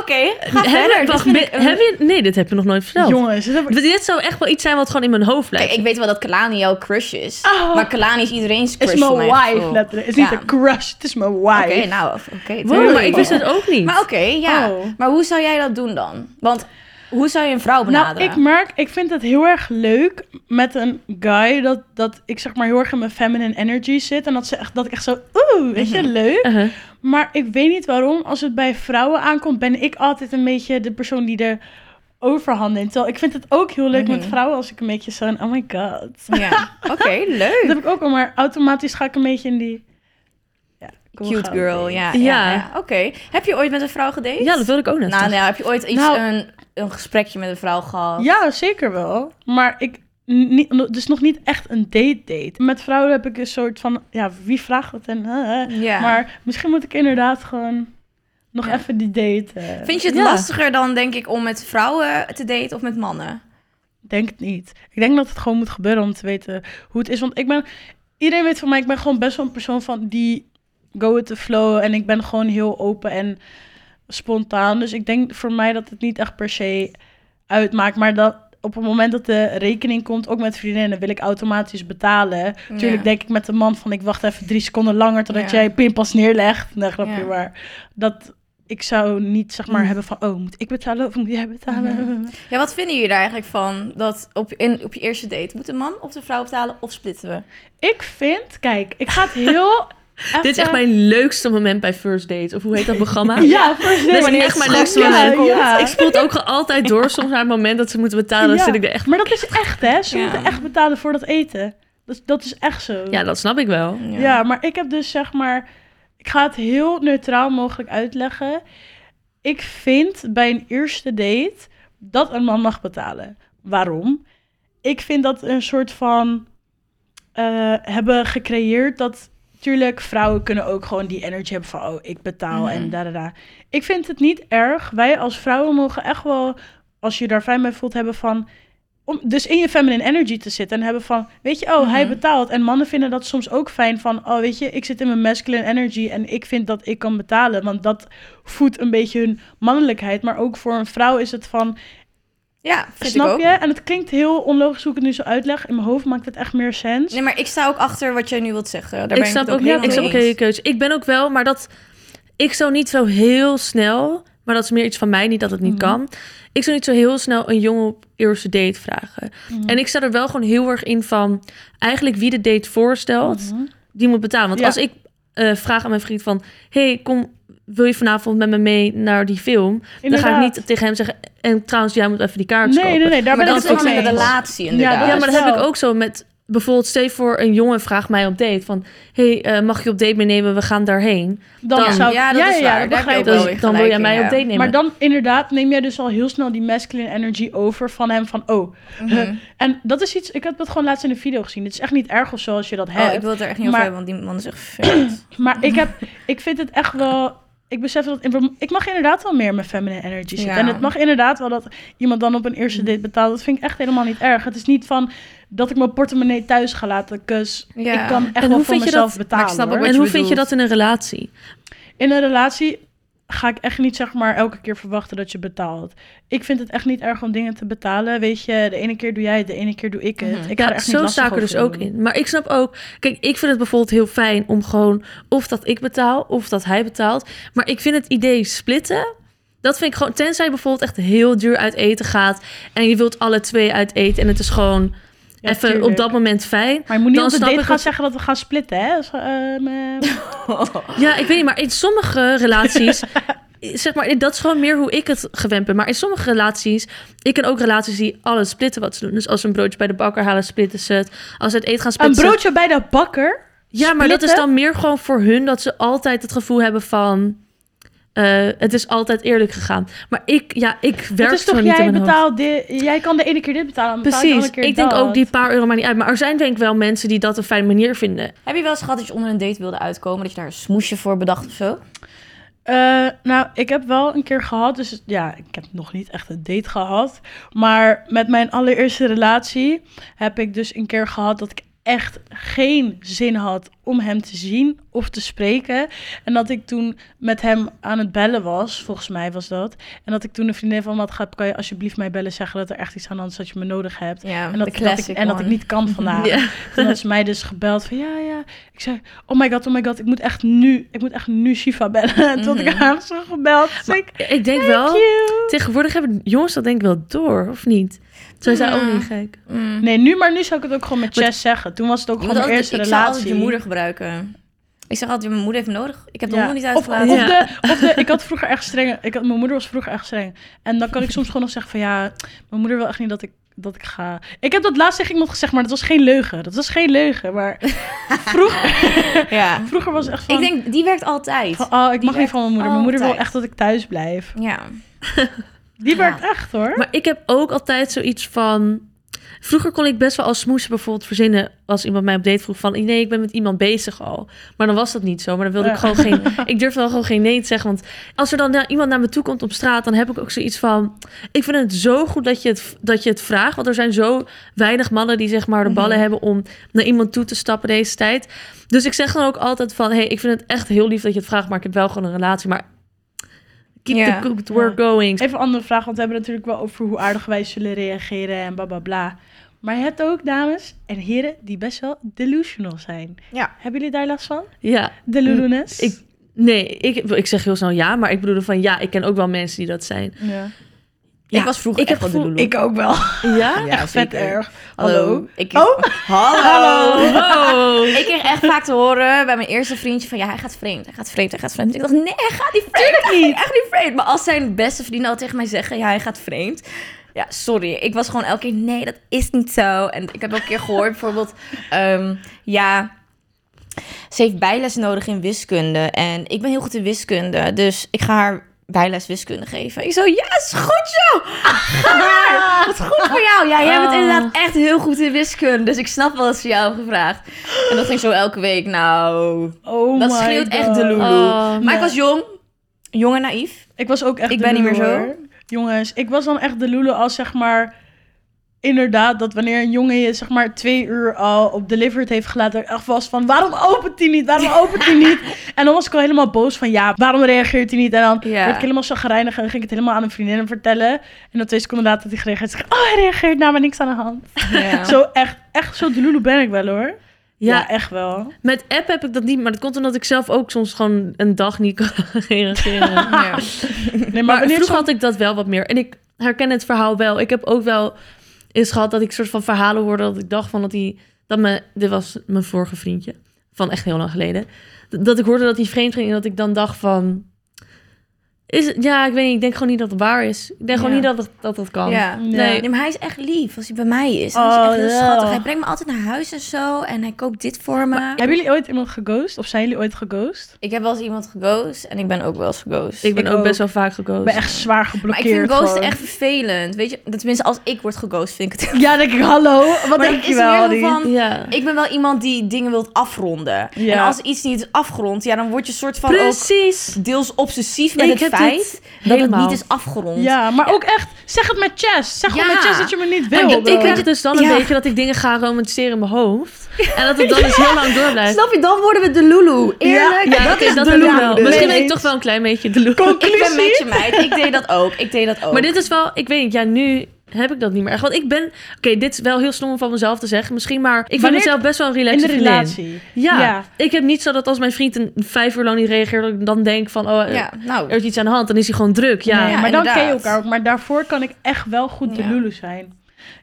[SPEAKER 1] oké, ga verder.
[SPEAKER 2] Heb,
[SPEAKER 1] Dit
[SPEAKER 2] wacht,
[SPEAKER 1] vind
[SPEAKER 2] ben-
[SPEAKER 1] ik een-
[SPEAKER 2] heb je, nee, dit heb je nog nooit verteld.
[SPEAKER 3] Jongens, dit heb ik-
[SPEAKER 2] Dit zou echt wel iets zijn wat gewoon in mijn hoofd
[SPEAKER 1] Kijk,
[SPEAKER 2] lijkt.
[SPEAKER 1] ik weet wel dat Kalani jouw crush is.
[SPEAKER 2] Oh.
[SPEAKER 3] Ah.
[SPEAKER 1] Maar Kalani is iedereen's
[SPEAKER 3] het
[SPEAKER 1] crush
[SPEAKER 3] is mijn
[SPEAKER 1] voor mij.
[SPEAKER 3] wife
[SPEAKER 1] Oh.
[SPEAKER 3] letterlijk. Het is
[SPEAKER 1] Ja.
[SPEAKER 3] niet een crush, het is mijn wife.
[SPEAKER 1] Oké, nou, oké.
[SPEAKER 2] Wow, maar
[SPEAKER 1] tuurlijk.
[SPEAKER 2] ik wist het ook niet.
[SPEAKER 1] Maar oké, ja.
[SPEAKER 3] Oh.
[SPEAKER 1] Maar hoe zou jij dat doen dan? Want hoe zou je een vrouw
[SPEAKER 3] Nou,
[SPEAKER 1] benaderen?
[SPEAKER 3] ik merk, ik vind het heel erg leuk met een guy dat, dat ik zeg maar heel erg in mijn feminine energy zit. En dat, ze echt, dat ik echt zo, oeh, weet
[SPEAKER 1] Mhm.
[SPEAKER 3] je, leuk.
[SPEAKER 1] Eh.
[SPEAKER 2] Uh-huh.
[SPEAKER 3] Maar ik weet niet waarom, als het bij vrouwen aankomt, ben ik altijd een beetje de persoon die er overhand neemt. Terwijl ik vind het ook heel leuk met
[SPEAKER 1] Mhm.
[SPEAKER 3] vrouwen als ik een beetje zo'n, oh my god.
[SPEAKER 1] Ja, oké,
[SPEAKER 2] <laughs>
[SPEAKER 3] Dat
[SPEAKER 1] leuk.
[SPEAKER 3] heb ik ook al, maar automatisch ga ik een beetje in die... Ja, kom, we
[SPEAKER 1] Cute
[SPEAKER 3] gaan.
[SPEAKER 1] girl, ja. ja.
[SPEAKER 2] Ja.
[SPEAKER 1] ja. Oké. Heb je ooit met een vrouw gedate?
[SPEAKER 2] Ja, dat wilde ik ook net.
[SPEAKER 1] Nou, nou
[SPEAKER 2] zeggen.
[SPEAKER 1] ja, heb je ooit iets,
[SPEAKER 3] Nou-
[SPEAKER 1] een, een gesprekje met een vrouw gehad?
[SPEAKER 3] Ja, zeker wel. Maar ik... Niet, dus nog niet echt een date date. Met vrouwen heb ik een soort van... Ja, wie vraagt het en... eh, eh.
[SPEAKER 1] Ja.
[SPEAKER 3] Maar misschien moet ik inderdaad gewoon... Nog
[SPEAKER 1] Ja.
[SPEAKER 3] even die date. eh.
[SPEAKER 1] Vind je het
[SPEAKER 2] Ja.
[SPEAKER 1] lastiger dan, denk ik, om met vrouwen te daten of met mannen?
[SPEAKER 3] Denk het niet. Ik denk dat het gewoon moet gebeuren om te weten hoe het is. Want ik ben, iedereen weet van mij, ik ben gewoon best wel een persoon van die go with the flow. En ik ben gewoon heel open en spontaan. Dus ik denk voor mij dat het niet echt per se uitmaakt. Maar dat op het moment dat de rekening komt, ook met vriendinnen, wil ik automatisch betalen. Natuurlijk denk ik met de man van, ik wacht even drie seconden langer totdat
[SPEAKER 1] Ja.
[SPEAKER 3] jij pinpas neerlegt. Nee, grapje,
[SPEAKER 1] Ja.
[SPEAKER 3] maar dat... Ik zou niet zeg maar
[SPEAKER 2] Mm.
[SPEAKER 3] hebben van, oh, moet ik betalen of moet jij betalen?
[SPEAKER 1] Ja, wat vinden jullie daar eigenlijk van? Dat op, in, op je eerste date moet de man of de vrouw betalen of splitten we?
[SPEAKER 3] Ik vind, kijk, ik ga het heel.
[SPEAKER 2] <laughs> Dit is echt mijn leukste moment bij First Dates. Of hoe heet dat
[SPEAKER 1] <laughs>
[SPEAKER 2] programma?
[SPEAKER 3] Ja, voor
[SPEAKER 2] Dit is
[SPEAKER 1] wanneer
[SPEAKER 2] echt
[SPEAKER 1] het
[SPEAKER 2] mijn leukste
[SPEAKER 1] gewoon
[SPEAKER 2] moment.
[SPEAKER 3] komt. Ja.
[SPEAKER 2] Ik spoel het ook altijd door. Soms naar het moment dat ze moeten betalen,
[SPEAKER 3] Ja.
[SPEAKER 2] zit ik er echt...
[SPEAKER 3] Maar dat is echt, hè? Ze
[SPEAKER 1] Ja.
[SPEAKER 3] moeten echt betalen voor dat eten. Dat, dat is echt zo.
[SPEAKER 2] Ja, dat snap ik wel.
[SPEAKER 3] Ja. maar ik heb dus zeg maar. Ik ga het heel neutraal mogelijk uitleggen. Ik vind bij een eerste date dat een man mag betalen. Waarom? Ik vind dat een soort van eh, hebben gecreëerd dat. Tuurlijk, vrouwen kunnen ook gewoon die energy hebben van oh, ik betaal en
[SPEAKER 1] Mhm.
[SPEAKER 3] da da da. Ik vind het niet erg. Wij als vrouwen mogen echt wel, als je je daar fijn bij voelt, hebben van. Om dus in je feminine energy te zitten en hebben van, weet je, oh, hij
[SPEAKER 1] Mhm.
[SPEAKER 3] betaalt. En mannen vinden dat soms ook fijn van, oh, weet je, ik zit in mijn masculine energy en ik vind dat ik kan betalen. Want dat voedt een beetje hun mannelijkheid. Maar ook voor een vrouw is het van,
[SPEAKER 1] Ja, vind ik
[SPEAKER 3] snap
[SPEAKER 1] ook.
[SPEAKER 3] je? En het klinkt heel onlogisch hoe ik het nu zo uitleg. In mijn hoofd maakt het echt meer sens.
[SPEAKER 1] Nee, maar ik sta ook achter wat jij nu wilt zeggen. Daar ben
[SPEAKER 2] ik
[SPEAKER 1] ik
[SPEAKER 2] snap
[SPEAKER 1] het ook
[SPEAKER 2] ook, ik
[SPEAKER 1] helemaal
[SPEAKER 2] snap ook
[SPEAKER 1] mee
[SPEAKER 2] heel je
[SPEAKER 1] eens.
[SPEAKER 2] keuze. Ik ben ook wel, maar dat... Ik zou niet zo heel snel Maar dat is meer iets van mij, niet dat het niet
[SPEAKER 1] Mhm.
[SPEAKER 2] kan. Ik zou niet zo heel snel een jongen op eerste date vragen.
[SPEAKER 1] Mhm.
[SPEAKER 2] En ik sta er wel gewoon heel erg in van... eigenlijk wie de date
[SPEAKER 3] Mhm.
[SPEAKER 2] voorstelt, die moet betalen. Want
[SPEAKER 3] Ja.
[SPEAKER 2] als ik eh, vraag aan mijn vriend van... hey, kom, wil je vanavond met me mee naar die film? Dan ga ik
[SPEAKER 3] Inderdaad.
[SPEAKER 2] niet tegen hem zeggen... en trouwens, jij moet even die kaart
[SPEAKER 3] Nee,
[SPEAKER 2] kopen.
[SPEAKER 3] nee, nee, daar
[SPEAKER 1] maar
[SPEAKER 3] ben
[SPEAKER 1] dat is
[SPEAKER 3] ik het ook
[SPEAKER 1] ook
[SPEAKER 3] mee
[SPEAKER 1] een
[SPEAKER 3] eens.
[SPEAKER 1] relatie inderdaad.
[SPEAKER 3] dat
[SPEAKER 2] Ja,
[SPEAKER 3] is
[SPEAKER 2] maar dat heb
[SPEAKER 3] wel.
[SPEAKER 2] ik ook zo met... Bijvoorbeeld, stel je voor een jongen vraagt mij op date van... hey, eh, mag je op date meenemen? We gaan daarheen.
[SPEAKER 3] Dan
[SPEAKER 2] Ja.
[SPEAKER 3] zou ik-
[SPEAKER 1] Ja, dat is waar. Daar heb je
[SPEAKER 3] begrijp
[SPEAKER 1] ook
[SPEAKER 3] ik.
[SPEAKER 1] wel
[SPEAKER 2] Dus
[SPEAKER 1] weer
[SPEAKER 2] dan wil
[SPEAKER 1] gelijk
[SPEAKER 2] jij
[SPEAKER 1] in,
[SPEAKER 2] mij
[SPEAKER 1] ja.
[SPEAKER 2] op date nemen.
[SPEAKER 3] Maar dan inderdaad neem jij dus al heel snel die masculine energy over van hem van oh.
[SPEAKER 1] Mhm.
[SPEAKER 3] huh. En dat is iets, ik heb dat gewoon laatst in een video gezien. Het is echt niet erg of zo als je dat
[SPEAKER 1] Oh,
[SPEAKER 3] hebt.
[SPEAKER 1] ik wil het er echt niet over
[SPEAKER 3] Maar-
[SPEAKER 1] hebben, want die man is echt
[SPEAKER 3] <clears throat>
[SPEAKER 1] vet.
[SPEAKER 3] Maar ik, heb, <laughs> ik vind het echt wel. Ik besef dat. Ik mag inderdaad wel meer in mijn feminine energy zitten.
[SPEAKER 1] Ja. Mm.
[SPEAKER 3] En het mag inderdaad wel dat iemand dan op een eerste date betaalt. Dat vind ik echt helemaal niet erg. Het is niet van dat ik mijn portemonnee thuis ga laten. kus.
[SPEAKER 1] Ja.
[SPEAKER 3] ik kan echt
[SPEAKER 2] En
[SPEAKER 3] wel
[SPEAKER 2] hoe
[SPEAKER 3] voor
[SPEAKER 2] vind je
[SPEAKER 3] mezelf
[SPEAKER 2] dat-
[SPEAKER 3] betalen.
[SPEAKER 4] Maar ik snap ook
[SPEAKER 3] hoor.
[SPEAKER 4] wat
[SPEAKER 2] en
[SPEAKER 4] je
[SPEAKER 2] hoe vind je
[SPEAKER 4] bedoelt.
[SPEAKER 2] dat in een relatie?
[SPEAKER 3] In een relatie ga ik echt niet zeg maar elke keer verwachten dat je betaalt. Ik vind het echt niet erg om dingen te betalen. Weet je, de ene keer doe jij het, de ene keer doe ik het.
[SPEAKER 1] Mhm.
[SPEAKER 3] Ik ga er
[SPEAKER 2] Ja,
[SPEAKER 3] echt
[SPEAKER 2] zo
[SPEAKER 3] niet
[SPEAKER 2] sta ik er
[SPEAKER 3] lastig
[SPEAKER 2] dus
[SPEAKER 3] over
[SPEAKER 2] ook in. Maar ik snap ook... Kijk, ik vind het bijvoorbeeld heel fijn om gewoon... of dat ik betaal, of dat hij betaalt. Maar ik vind het idee splitten... dat vind ik gewoon... tenzij je bijvoorbeeld echt heel duur uit eten gaat... en je wilt alle twee uit eten... en het is gewoon
[SPEAKER 3] Ja,
[SPEAKER 2] even op
[SPEAKER 3] tuurlijk.
[SPEAKER 2] dat moment fijn.
[SPEAKER 3] Maar je moet niet
[SPEAKER 2] Dan
[SPEAKER 3] op de
[SPEAKER 2] snap
[SPEAKER 3] date
[SPEAKER 2] ik
[SPEAKER 3] gaan
[SPEAKER 2] het-
[SPEAKER 3] zeggen dat we gaan splitten, hè? Zo,
[SPEAKER 2] <laughs>
[SPEAKER 3] ehm, ehm,
[SPEAKER 2] Ja, ik weet niet, maar in sommige
[SPEAKER 3] <laughs>
[SPEAKER 2] relaties... zeg maar, dat is gewoon meer hoe ik het gewend ben. Maar in sommige relaties... Ik ken ook relaties die alles splitten wat ze doen. Dus als ze een broodje bij de bakker halen, splitten ze het. Als ze uit eten gaan,
[SPEAKER 3] een
[SPEAKER 2] splitten ze het.
[SPEAKER 3] broodje bij de bakker.
[SPEAKER 2] Ja, maar dat is
[SPEAKER 3] Splitten?
[SPEAKER 2] dan meer gewoon voor hun dat ze altijd het gevoel hebben van... eh, het is altijd eerlijk gegaan. Maar ik, ja, ik werk
[SPEAKER 3] het is
[SPEAKER 2] zo
[SPEAKER 3] toch
[SPEAKER 2] niet in
[SPEAKER 3] jij
[SPEAKER 2] mijn hoofd.
[SPEAKER 3] betaalt dit, jij kan de ene keer dit betalen, dan betaal je
[SPEAKER 2] Precies.
[SPEAKER 3] de andere keer
[SPEAKER 2] Ik denk
[SPEAKER 3] dat.
[SPEAKER 2] ook die paar euro maar niet uit. Maar er zijn denk ik wel mensen die dat een fijne manier vinden.
[SPEAKER 1] heb je wel eens gehad dat je onder een date wilde uitkomen? Dat je daar een smoesje voor bedacht of zo?
[SPEAKER 3] Eh, nou, ik heb wel een keer gehad, dus het- ja, ik heb nog niet echt een date gehad. Maar met mijn allereerste relatie heb ik dus een keer gehad dat ik echt geen zin had om hem te zien of te spreken. En dat ik toen met hem aan het bellen was, volgens mij was dat. En dat ik toen een vriendin van me had gehad, kan je alsjeblieft mij bellen zeggen dat er echt iets aan de hand is dat je me nodig hebt.
[SPEAKER 1] Ja,
[SPEAKER 3] En dat,
[SPEAKER 1] de
[SPEAKER 3] dat ik,
[SPEAKER 1] classic
[SPEAKER 3] en dat
[SPEAKER 1] one.
[SPEAKER 3] ik niet
[SPEAKER 1] <laughs>
[SPEAKER 3] kan vandaag.
[SPEAKER 2] Ja.
[SPEAKER 3] Toen had ze mij dus gebeld van ja, ja. Ik zei, oh my god, oh my god, ik moet echt nu, ik moet echt nu Shiva bellen. <laughs> Toen
[SPEAKER 1] Mhm.
[SPEAKER 3] had ik haar zo gebeld. Dus ik,
[SPEAKER 2] Ik denk
[SPEAKER 3] thank
[SPEAKER 2] wel...
[SPEAKER 3] you.
[SPEAKER 2] Tegenwoordig hebben jongens dat denk ik wel door, of niet? Zij zijn ook niet gek.
[SPEAKER 1] Mm.
[SPEAKER 3] Nee, nu, maar nu zou ik het ook gewoon met Chess zeggen. Toen was het ook
[SPEAKER 1] Je
[SPEAKER 3] gewoon
[SPEAKER 1] moet
[SPEAKER 3] mijn
[SPEAKER 1] altijd-
[SPEAKER 3] eerste
[SPEAKER 1] ik zou
[SPEAKER 3] relatie.
[SPEAKER 1] altijd je moeder gebruiken. Ik zeg altijd, mijn moeder heeft me nodig. Ik heb de
[SPEAKER 3] Ja.
[SPEAKER 1] hond niet
[SPEAKER 3] Of,
[SPEAKER 1] uitgelaten.
[SPEAKER 3] of,
[SPEAKER 2] Ja.
[SPEAKER 3] de, of de, ik had vroeger echt streng, ik had, mijn moeder was vroeger echt streng. En dan kan ik soms gewoon nog zeggen van ja, mijn moeder wil echt niet dat ik, dat ik ga. Ik heb dat laatst tegen iemand gezegd, maar dat was geen leugen. Dat was geen leugen, maar vroeger,
[SPEAKER 1] <laughs> Ja.
[SPEAKER 3] vroeger was het echt van...
[SPEAKER 1] Ik denk, die werkt altijd.
[SPEAKER 3] Van, oh, ik mag
[SPEAKER 1] Die
[SPEAKER 3] niet van mijn moeder. Mijn moeder wil
[SPEAKER 1] altijd.
[SPEAKER 3] echt dat ik thuis blijf.
[SPEAKER 1] Ja.
[SPEAKER 3] Die
[SPEAKER 1] Ja.
[SPEAKER 3] werkt echt hoor.
[SPEAKER 2] Maar ik heb ook altijd zoiets van... Vroeger kon ik best wel als smoes bijvoorbeeld verzinnen... als iemand mij op date vroeg van... nee, ik ben met iemand bezig al. Maar dan was dat niet zo. Maar dan wilde ik
[SPEAKER 3] Ja.
[SPEAKER 2] gewoon
[SPEAKER 1] <laughs>
[SPEAKER 2] geen... Ik durfde wel gewoon geen nee te zeggen. Want als er dan nou iemand naar me toe komt op straat... dan heb ik ook zoiets van... Ik vind het zo goed dat je het, dat je het vraagt. Want er zijn zo weinig mannen die zeg maar de
[SPEAKER 1] Mhm.
[SPEAKER 2] ballen hebben... om naar iemand toe te stappen deze tijd. Dus ik zeg dan ook altijd van... hey, ik vind het echt heel lief dat je het vraagt... maar ik heb wel gewoon een relatie. Maar keep
[SPEAKER 1] Ja.
[SPEAKER 2] the good work going.
[SPEAKER 3] Even een andere vraag, want we hebben het natuurlijk wel over hoe aardig wij zullen reageren en bla bla bla. Maar je hebt ook dames en heren die best wel delusional zijn.
[SPEAKER 1] Ja.
[SPEAKER 3] Hebben jullie daar last van?
[SPEAKER 2] Ja.
[SPEAKER 3] Delusionals?
[SPEAKER 2] ik- Nee, ik, ik zeg heel snel ja, maar ik bedoel van ja, ik ken ook wel mensen die dat zijn.
[SPEAKER 3] ja.
[SPEAKER 2] Ja,
[SPEAKER 1] Ik was vroeger
[SPEAKER 2] ik
[SPEAKER 1] echt wel
[SPEAKER 2] heb
[SPEAKER 1] de
[SPEAKER 2] gevoel-
[SPEAKER 1] lulu.
[SPEAKER 3] ik ook wel.
[SPEAKER 2] Ja?
[SPEAKER 1] Ja,
[SPEAKER 3] <laughs> echt vet
[SPEAKER 1] zeker.
[SPEAKER 3] erg.
[SPEAKER 1] Hallo.
[SPEAKER 3] Hallo.
[SPEAKER 1] Ik,
[SPEAKER 3] Oh.
[SPEAKER 1] Hallo.
[SPEAKER 2] Wow.
[SPEAKER 1] <laughs> Ik kreeg echt vaak te horen bij mijn eerste vriendje van... ja, hij gaat vreemd, hij gaat vreemd, hij gaat vreemd. Ik dacht, nee, hij gaat niet vreemd. Tuurlijk niet. Echt niet vreemd. Maar als zijn beste vrienden al tegen mij zeggen... ja, hij gaat vreemd. Ja, sorry. Ik was gewoon elke keer... nee, dat is niet zo. En ik heb ook een keer gehoord bijvoorbeeld... ehm, ja, ze heeft bijles nodig in wiskunde. En ik ben heel goed in wiskunde. Dus ik ga haar bijles wiskunde geven. Ik zo, yes, goed zo! Ga maar! Wat goed voor jou! Ja, jij bent
[SPEAKER 2] Oh.
[SPEAKER 1] inderdaad echt heel goed in wiskunde. Dus ik snap wel dat ze jou hebben gevraagd. En dat ging zo elke week. Nou,
[SPEAKER 3] Oh
[SPEAKER 1] dat
[SPEAKER 3] my
[SPEAKER 1] schreeuwt echt
[SPEAKER 3] God.
[SPEAKER 1] de lulu.
[SPEAKER 2] Oh,
[SPEAKER 1] maar
[SPEAKER 3] nee.
[SPEAKER 1] ik was jong. Jong en naïef.
[SPEAKER 3] Ik was ook echt
[SPEAKER 1] Ik
[SPEAKER 3] de
[SPEAKER 1] ben niet meer
[SPEAKER 3] lulu,
[SPEAKER 1] zo.
[SPEAKER 3] hoor. Jongens, ik was dan echt de lulu als zeg maar... Inderdaad, dat wanneer een jongen je zeg maar twee uur al op delivered heeft gelaten... echt was van, waarom opent hij niet? Waarom opent hij niet?
[SPEAKER 1] <laughs>
[SPEAKER 3] En dan was ik al helemaal boos van, ja, waarom reageert hij niet? En dan
[SPEAKER 1] Ja.
[SPEAKER 3] werd ik helemaal chagrijnig en ging ik het helemaal aan een vriendin vertellen. En dan twee seconden later had hij gereageerd. Zeg, ik, oh, hij reageert naar maar niks aan de hand.
[SPEAKER 1] Ja.
[SPEAKER 3] Zo echt, echt zo de lulu ben ik wel hoor.
[SPEAKER 2] Ja,
[SPEAKER 3] echt
[SPEAKER 1] <laughs>
[SPEAKER 3] wel.
[SPEAKER 2] met app heb ik dat niet, maar dat komt omdat ik zelf ook soms gewoon een dag niet kan <laughs> reageren.
[SPEAKER 4] Ja.
[SPEAKER 3] Nee,
[SPEAKER 2] Maar
[SPEAKER 3] maar, wanneer
[SPEAKER 2] vroeger
[SPEAKER 3] zo'n-
[SPEAKER 2] had ik dat wel wat meer. En ik herken het verhaal wel. Ik heb ook wel eens gehad dat ik soort van verhalen hoorde dat ik dacht van dat die dat me dit was mijn vorige vriendje van echt heel lang geleden. D- Dat ik hoorde dat hij vreemd ging en dat ik dan dacht van is het, ja, ik weet niet, ik denk gewoon niet dat het waar is. Ik denk gewoon
[SPEAKER 4] Ja.
[SPEAKER 2] niet dat het, dat het kan.
[SPEAKER 4] Ja.
[SPEAKER 2] Nee.
[SPEAKER 1] Nee, maar hij is echt lief als hij bij mij is. Hij
[SPEAKER 3] Oh,
[SPEAKER 1] is echt heel
[SPEAKER 3] ja.
[SPEAKER 1] schattig. Hij brengt me altijd naar huis en zo. En hij koopt dit voor me.
[SPEAKER 3] Hebben jullie ooit iemand geghost? Of zijn jullie ooit geghost?
[SPEAKER 1] Ik heb wel eens iemand geghost en ik ben ook wel eens geghost.
[SPEAKER 2] Ik ben
[SPEAKER 3] Ik
[SPEAKER 2] ook,
[SPEAKER 3] ook.
[SPEAKER 2] best wel vaak gekozen.
[SPEAKER 3] Ik ben echt zwaar
[SPEAKER 1] maar ik
[SPEAKER 3] geblokkeerd.
[SPEAKER 1] vind ghosten
[SPEAKER 3] gewoon.
[SPEAKER 1] echt vervelend. Weet je, tenminste als ik word geghost vind ik het...
[SPEAKER 3] Ja, denk ik, hallo, wat
[SPEAKER 1] Maar
[SPEAKER 3] denk
[SPEAKER 1] dat
[SPEAKER 3] je
[SPEAKER 1] is
[SPEAKER 3] wel?
[SPEAKER 1] meer
[SPEAKER 3] die-
[SPEAKER 1] van-
[SPEAKER 2] Ja.
[SPEAKER 1] Ik ben wel iemand die dingen wilt afronden.
[SPEAKER 3] Ja.
[SPEAKER 1] En als iets niet is afgerond, ja, dan word je soort van
[SPEAKER 2] Precies.
[SPEAKER 1] ook deels obsessief met
[SPEAKER 2] Ik
[SPEAKER 1] het
[SPEAKER 2] heb dit
[SPEAKER 1] feit dat het
[SPEAKER 2] helemaal.
[SPEAKER 1] niet is afgerond.
[SPEAKER 3] Ja, maar ook echt, zeg het met chest. Zeg gewoon
[SPEAKER 1] Ja.
[SPEAKER 3] met chest dat je me niet wil.
[SPEAKER 2] En ik, ik
[SPEAKER 3] bro.
[SPEAKER 1] <laughs>
[SPEAKER 2] krijg dus dan een
[SPEAKER 1] Ja.
[SPEAKER 2] beetje dat ik dingen ga romantiseren in mijn hoofd. En dat het dan dus heel lang door blijft.
[SPEAKER 1] <laughs> Snap je? Dan worden we de Lulu. Eerlijk.
[SPEAKER 2] Ja,
[SPEAKER 1] dat
[SPEAKER 2] oké,
[SPEAKER 1] is
[SPEAKER 2] dat
[SPEAKER 1] de
[SPEAKER 2] heb ik
[SPEAKER 1] Lulu.
[SPEAKER 2] wel.
[SPEAKER 3] dus.
[SPEAKER 2] Misschien ben
[SPEAKER 3] Nee.
[SPEAKER 2] ik toch wel een klein beetje de loer.
[SPEAKER 1] Ik ben
[SPEAKER 3] Conclusie?
[SPEAKER 1] met je meid. Ik deed dat ook. Ik deed dat ook.
[SPEAKER 2] Maar dit is wel, ik weet niet, ja, nu heb ik dat niet meer echt. Want ik ben, oké, dit is wel heel stom om van mezelf te zeggen. Misschien, maar ik
[SPEAKER 3] Wanneer-
[SPEAKER 2] vind mezelf best wel een
[SPEAKER 3] In
[SPEAKER 2] relaxed
[SPEAKER 3] de relatie.
[SPEAKER 2] Ja.
[SPEAKER 3] Ja.
[SPEAKER 2] Ik heb niet zo dat als mijn vriend een vijf uur lang niet reageert, dat ik dan denk van, oh, eh,
[SPEAKER 1] Ja, nou.
[SPEAKER 2] er is iets aan de hand. Dan is hij gewoon druk. Ja.
[SPEAKER 3] Nee,
[SPEAKER 1] Ja,
[SPEAKER 3] maar dan ken je
[SPEAKER 1] inderdaad.
[SPEAKER 3] elkaar ook. Maar daarvoor kan ik echt wel goed de
[SPEAKER 1] Ja.
[SPEAKER 3] Lulu zijn.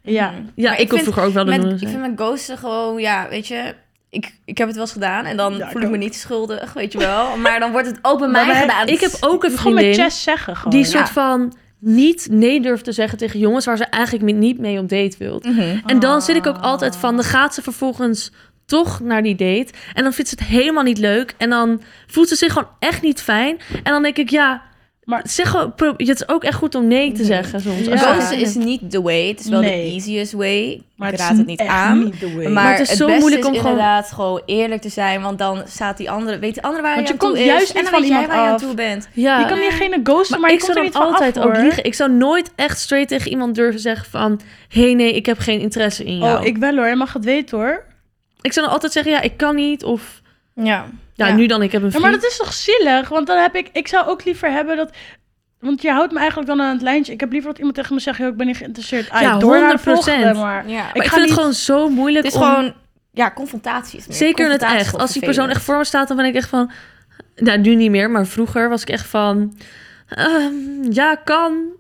[SPEAKER 3] Ja.
[SPEAKER 2] Ja,
[SPEAKER 1] Mm. Maar
[SPEAKER 2] ik, kon
[SPEAKER 1] vind
[SPEAKER 2] vroeger ook wel de
[SPEAKER 1] met-
[SPEAKER 2] doen.
[SPEAKER 1] Ik vind mijn ghosten gewoon, ja, weet je... Ik, ik heb het wel eens gedaan en dan
[SPEAKER 3] Ja, ik
[SPEAKER 1] voel ik me
[SPEAKER 3] ook.
[SPEAKER 1] niet schuldig, weet je wel. <laughs> Maar dan wordt het ook bij mij
[SPEAKER 3] wij-
[SPEAKER 1] gedaan.
[SPEAKER 2] Ik heb ook een
[SPEAKER 3] Gewoon met
[SPEAKER 2] vriendin
[SPEAKER 3] chest zeggen gewoon.
[SPEAKER 2] die
[SPEAKER 1] zo-
[SPEAKER 2] soort van niet nee durft te zeggen tegen jongens waar ze eigenlijk niet mee op date wil.
[SPEAKER 1] Mhm.
[SPEAKER 2] En dan zit ik ook altijd van, dan gaat ze vervolgens toch naar die date. En dan vindt ze het helemaal niet leuk. En dan voelt ze zich gewoon echt niet fijn. En dan denk ik, ja, maar
[SPEAKER 3] Maar-
[SPEAKER 2] zeg, gewoon, pro- het is ook echt goed om nee te zeggen soms.
[SPEAKER 3] Ja.
[SPEAKER 2] Als je
[SPEAKER 1] Ghosten
[SPEAKER 2] dat zin
[SPEAKER 1] is
[SPEAKER 2] hebt.
[SPEAKER 1] niet the way. Het is wel
[SPEAKER 3] Nee.
[SPEAKER 1] de easiest way.
[SPEAKER 3] Maar
[SPEAKER 1] ik raad het niet
[SPEAKER 3] echt
[SPEAKER 1] aan.
[SPEAKER 3] niet the way.
[SPEAKER 1] Maar,
[SPEAKER 2] Maar het is
[SPEAKER 1] het
[SPEAKER 2] zo
[SPEAKER 1] beste
[SPEAKER 2] moeilijk
[SPEAKER 1] is
[SPEAKER 2] om gewoon-
[SPEAKER 1] inderdaad gewoon eerlijk te zijn. Want dan staat die andere, weet de andere waar
[SPEAKER 3] Want
[SPEAKER 1] je
[SPEAKER 3] je
[SPEAKER 1] aan toe
[SPEAKER 3] komt
[SPEAKER 1] is.
[SPEAKER 3] juist
[SPEAKER 1] en
[SPEAKER 3] niet
[SPEAKER 1] dan
[SPEAKER 3] van
[SPEAKER 1] weet jij
[SPEAKER 3] iemand
[SPEAKER 1] waar je aan
[SPEAKER 3] af.
[SPEAKER 1] toe bent.
[SPEAKER 2] Ja.
[SPEAKER 3] Je kan diegene ghosten, maar,
[SPEAKER 2] Maar
[SPEAKER 3] je
[SPEAKER 2] ik
[SPEAKER 3] komt
[SPEAKER 2] zou
[SPEAKER 3] er
[SPEAKER 2] dan
[SPEAKER 3] niet van
[SPEAKER 2] altijd
[SPEAKER 3] af,
[SPEAKER 2] ook
[SPEAKER 3] hoor.
[SPEAKER 2] liegen. Ik zou nooit echt straight tegen iemand durven zeggen van... Hé, hey, nee, ik heb geen interesse in jou.
[SPEAKER 3] Oh,
[SPEAKER 2] ik...
[SPEAKER 3] ik wel hoor. Je mag het weten hoor.
[SPEAKER 2] zou dan altijd zeggen, ja, ik kan niet. Of,
[SPEAKER 1] Ja.
[SPEAKER 2] ja,
[SPEAKER 1] Ja.
[SPEAKER 2] nu dan, ik heb een
[SPEAKER 3] Ja,
[SPEAKER 2] vriend.
[SPEAKER 3] maar dat is toch zielig? Want dan heb ik... Ik zou ook liever hebben dat... Want je houdt me eigenlijk dan aan het lijntje. Ik heb liever dat iemand tegen me zegt... "Yo, ik ben niet geïnteresseerd. Ah,
[SPEAKER 2] Ja,
[SPEAKER 3] door naar de
[SPEAKER 2] 100%.
[SPEAKER 3] volgende, maar...
[SPEAKER 1] ja.
[SPEAKER 2] Maar ik,
[SPEAKER 3] ga
[SPEAKER 2] vind
[SPEAKER 3] niet-
[SPEAKER 2] het gewoon zo moeilijk
[SPEAKER 1] Het is
[SPEAKER 2] om...
[SPEAKER 1] gewoon, ja, confrontatie is meer.
[SPEAKER 2] Zeker in het
[SPEAKER 1] Confrontatie is
[SPEAKER 2] echt.
[SPEAKER 1] gewoon
[SPEAKER 2] Als die persoon echt
[SPEAKER 1] vervelend.
[SPEAKER 2] voor me staat, dan ben ik echt van... Nou, nu niet meer, maar vroeger was ik echt van... ehm, ja,
[SPEAKER 1] <laughs>
[SPEAKER 2] kan.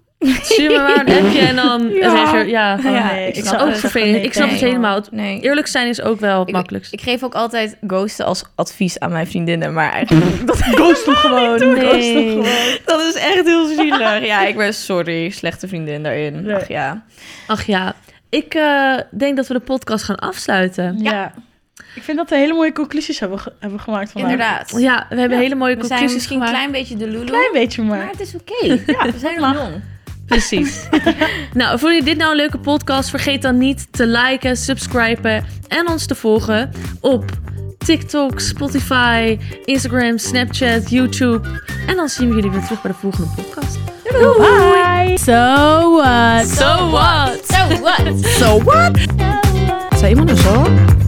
[SPEAKER 2] Stuur me maar een appje en dan...
[SPEAKER 3] Ja.
[SPEAKER 2] reageer- ja.
[SPEAKER 3] Oh,
[SPEAKER 1] Ja,
[SPEAKER 3] nee,
[SPEAKER 1] ik
[SPEAKER 3] ik
[SPEAKER 1] snap
[SPEAKER 3] zou
[SPEAKER 1] het.
[SPEAKER 2] ook
[SPEAKER 3] echt zeggen,
[SPEAKER 2] vervelend.
[SPEAKER 3] nee,
[SPEAKER 2] ik snap het
[SPEAKER 3] nee.
[SPEAKER 2] helemaal. Het-
[SPEAKER 1] Nee.
[SPEAKER 2] Eerlijk zijn is ook wel het
[SPEAKER 1] Ik-
[SPEAKER 2] makkelijkst.
[SPEAKER 1] Ik geef ook altijd ghosten als advies aan mijn vriendinnen, maar <laughs> eigenlijk, dat,
[SPEAKER 3] <laughs> Ghost hem gewoon. Ghost hem
[SPEAKER 2] Nee.
[SPEAKER 3] gewoon.
[SPEAKER 1] dat is echt heel zielig. Ja, ik ben sorry, slechte vriendin daarin.
[SPEAKER 3] Nee.
[SPEAKER 1] Ach ja.
[SPEAKER 2] Ach ja, ik eh, denk dat we de podcast gaan afsluiten.
[SPEAKER 3] Ja. Ik vind dat we hele mooie conclusies hebben, ge- hebben gemaakt vandaag.
[SPEAKER 1] Inderdaad.
[SPEAKER 2] Ja, we hebben hele mooie
[SPEAKER 1] We zijn
[SPEAKER 2] conclusies
[SPEAKER 1] misschien een
[SPEAKER 2] gemaakt.
[SPEAKER 1] klein beetje de lulu,
[SPEAKER 3] Klein beetje
[SPEAKER 1] maar
[SPEAKER 3] maar.
[SPEAKER 1] het is oké. Ja, we zijn nog jong.
[SPEAKER 4] <laughs>
[SPEAKER 2] Precies. nou, vond je dit nou een leuke podcast? Vergeet dan niet te liken, subscriben en ons te volgen op TikTok, Spotify, Instagram, Snapchat, YouTube. En dan zien we jullie weer terug bij de volgende podcast.
[SPEAKER 3] Bye.
[SPEAKER 4] So what?
[SPEAKER 2] So what?
[SPEAKER 4] So what?
[SPEAKER 1] So what?
[SPEAKER 4] Zou iemand een zo?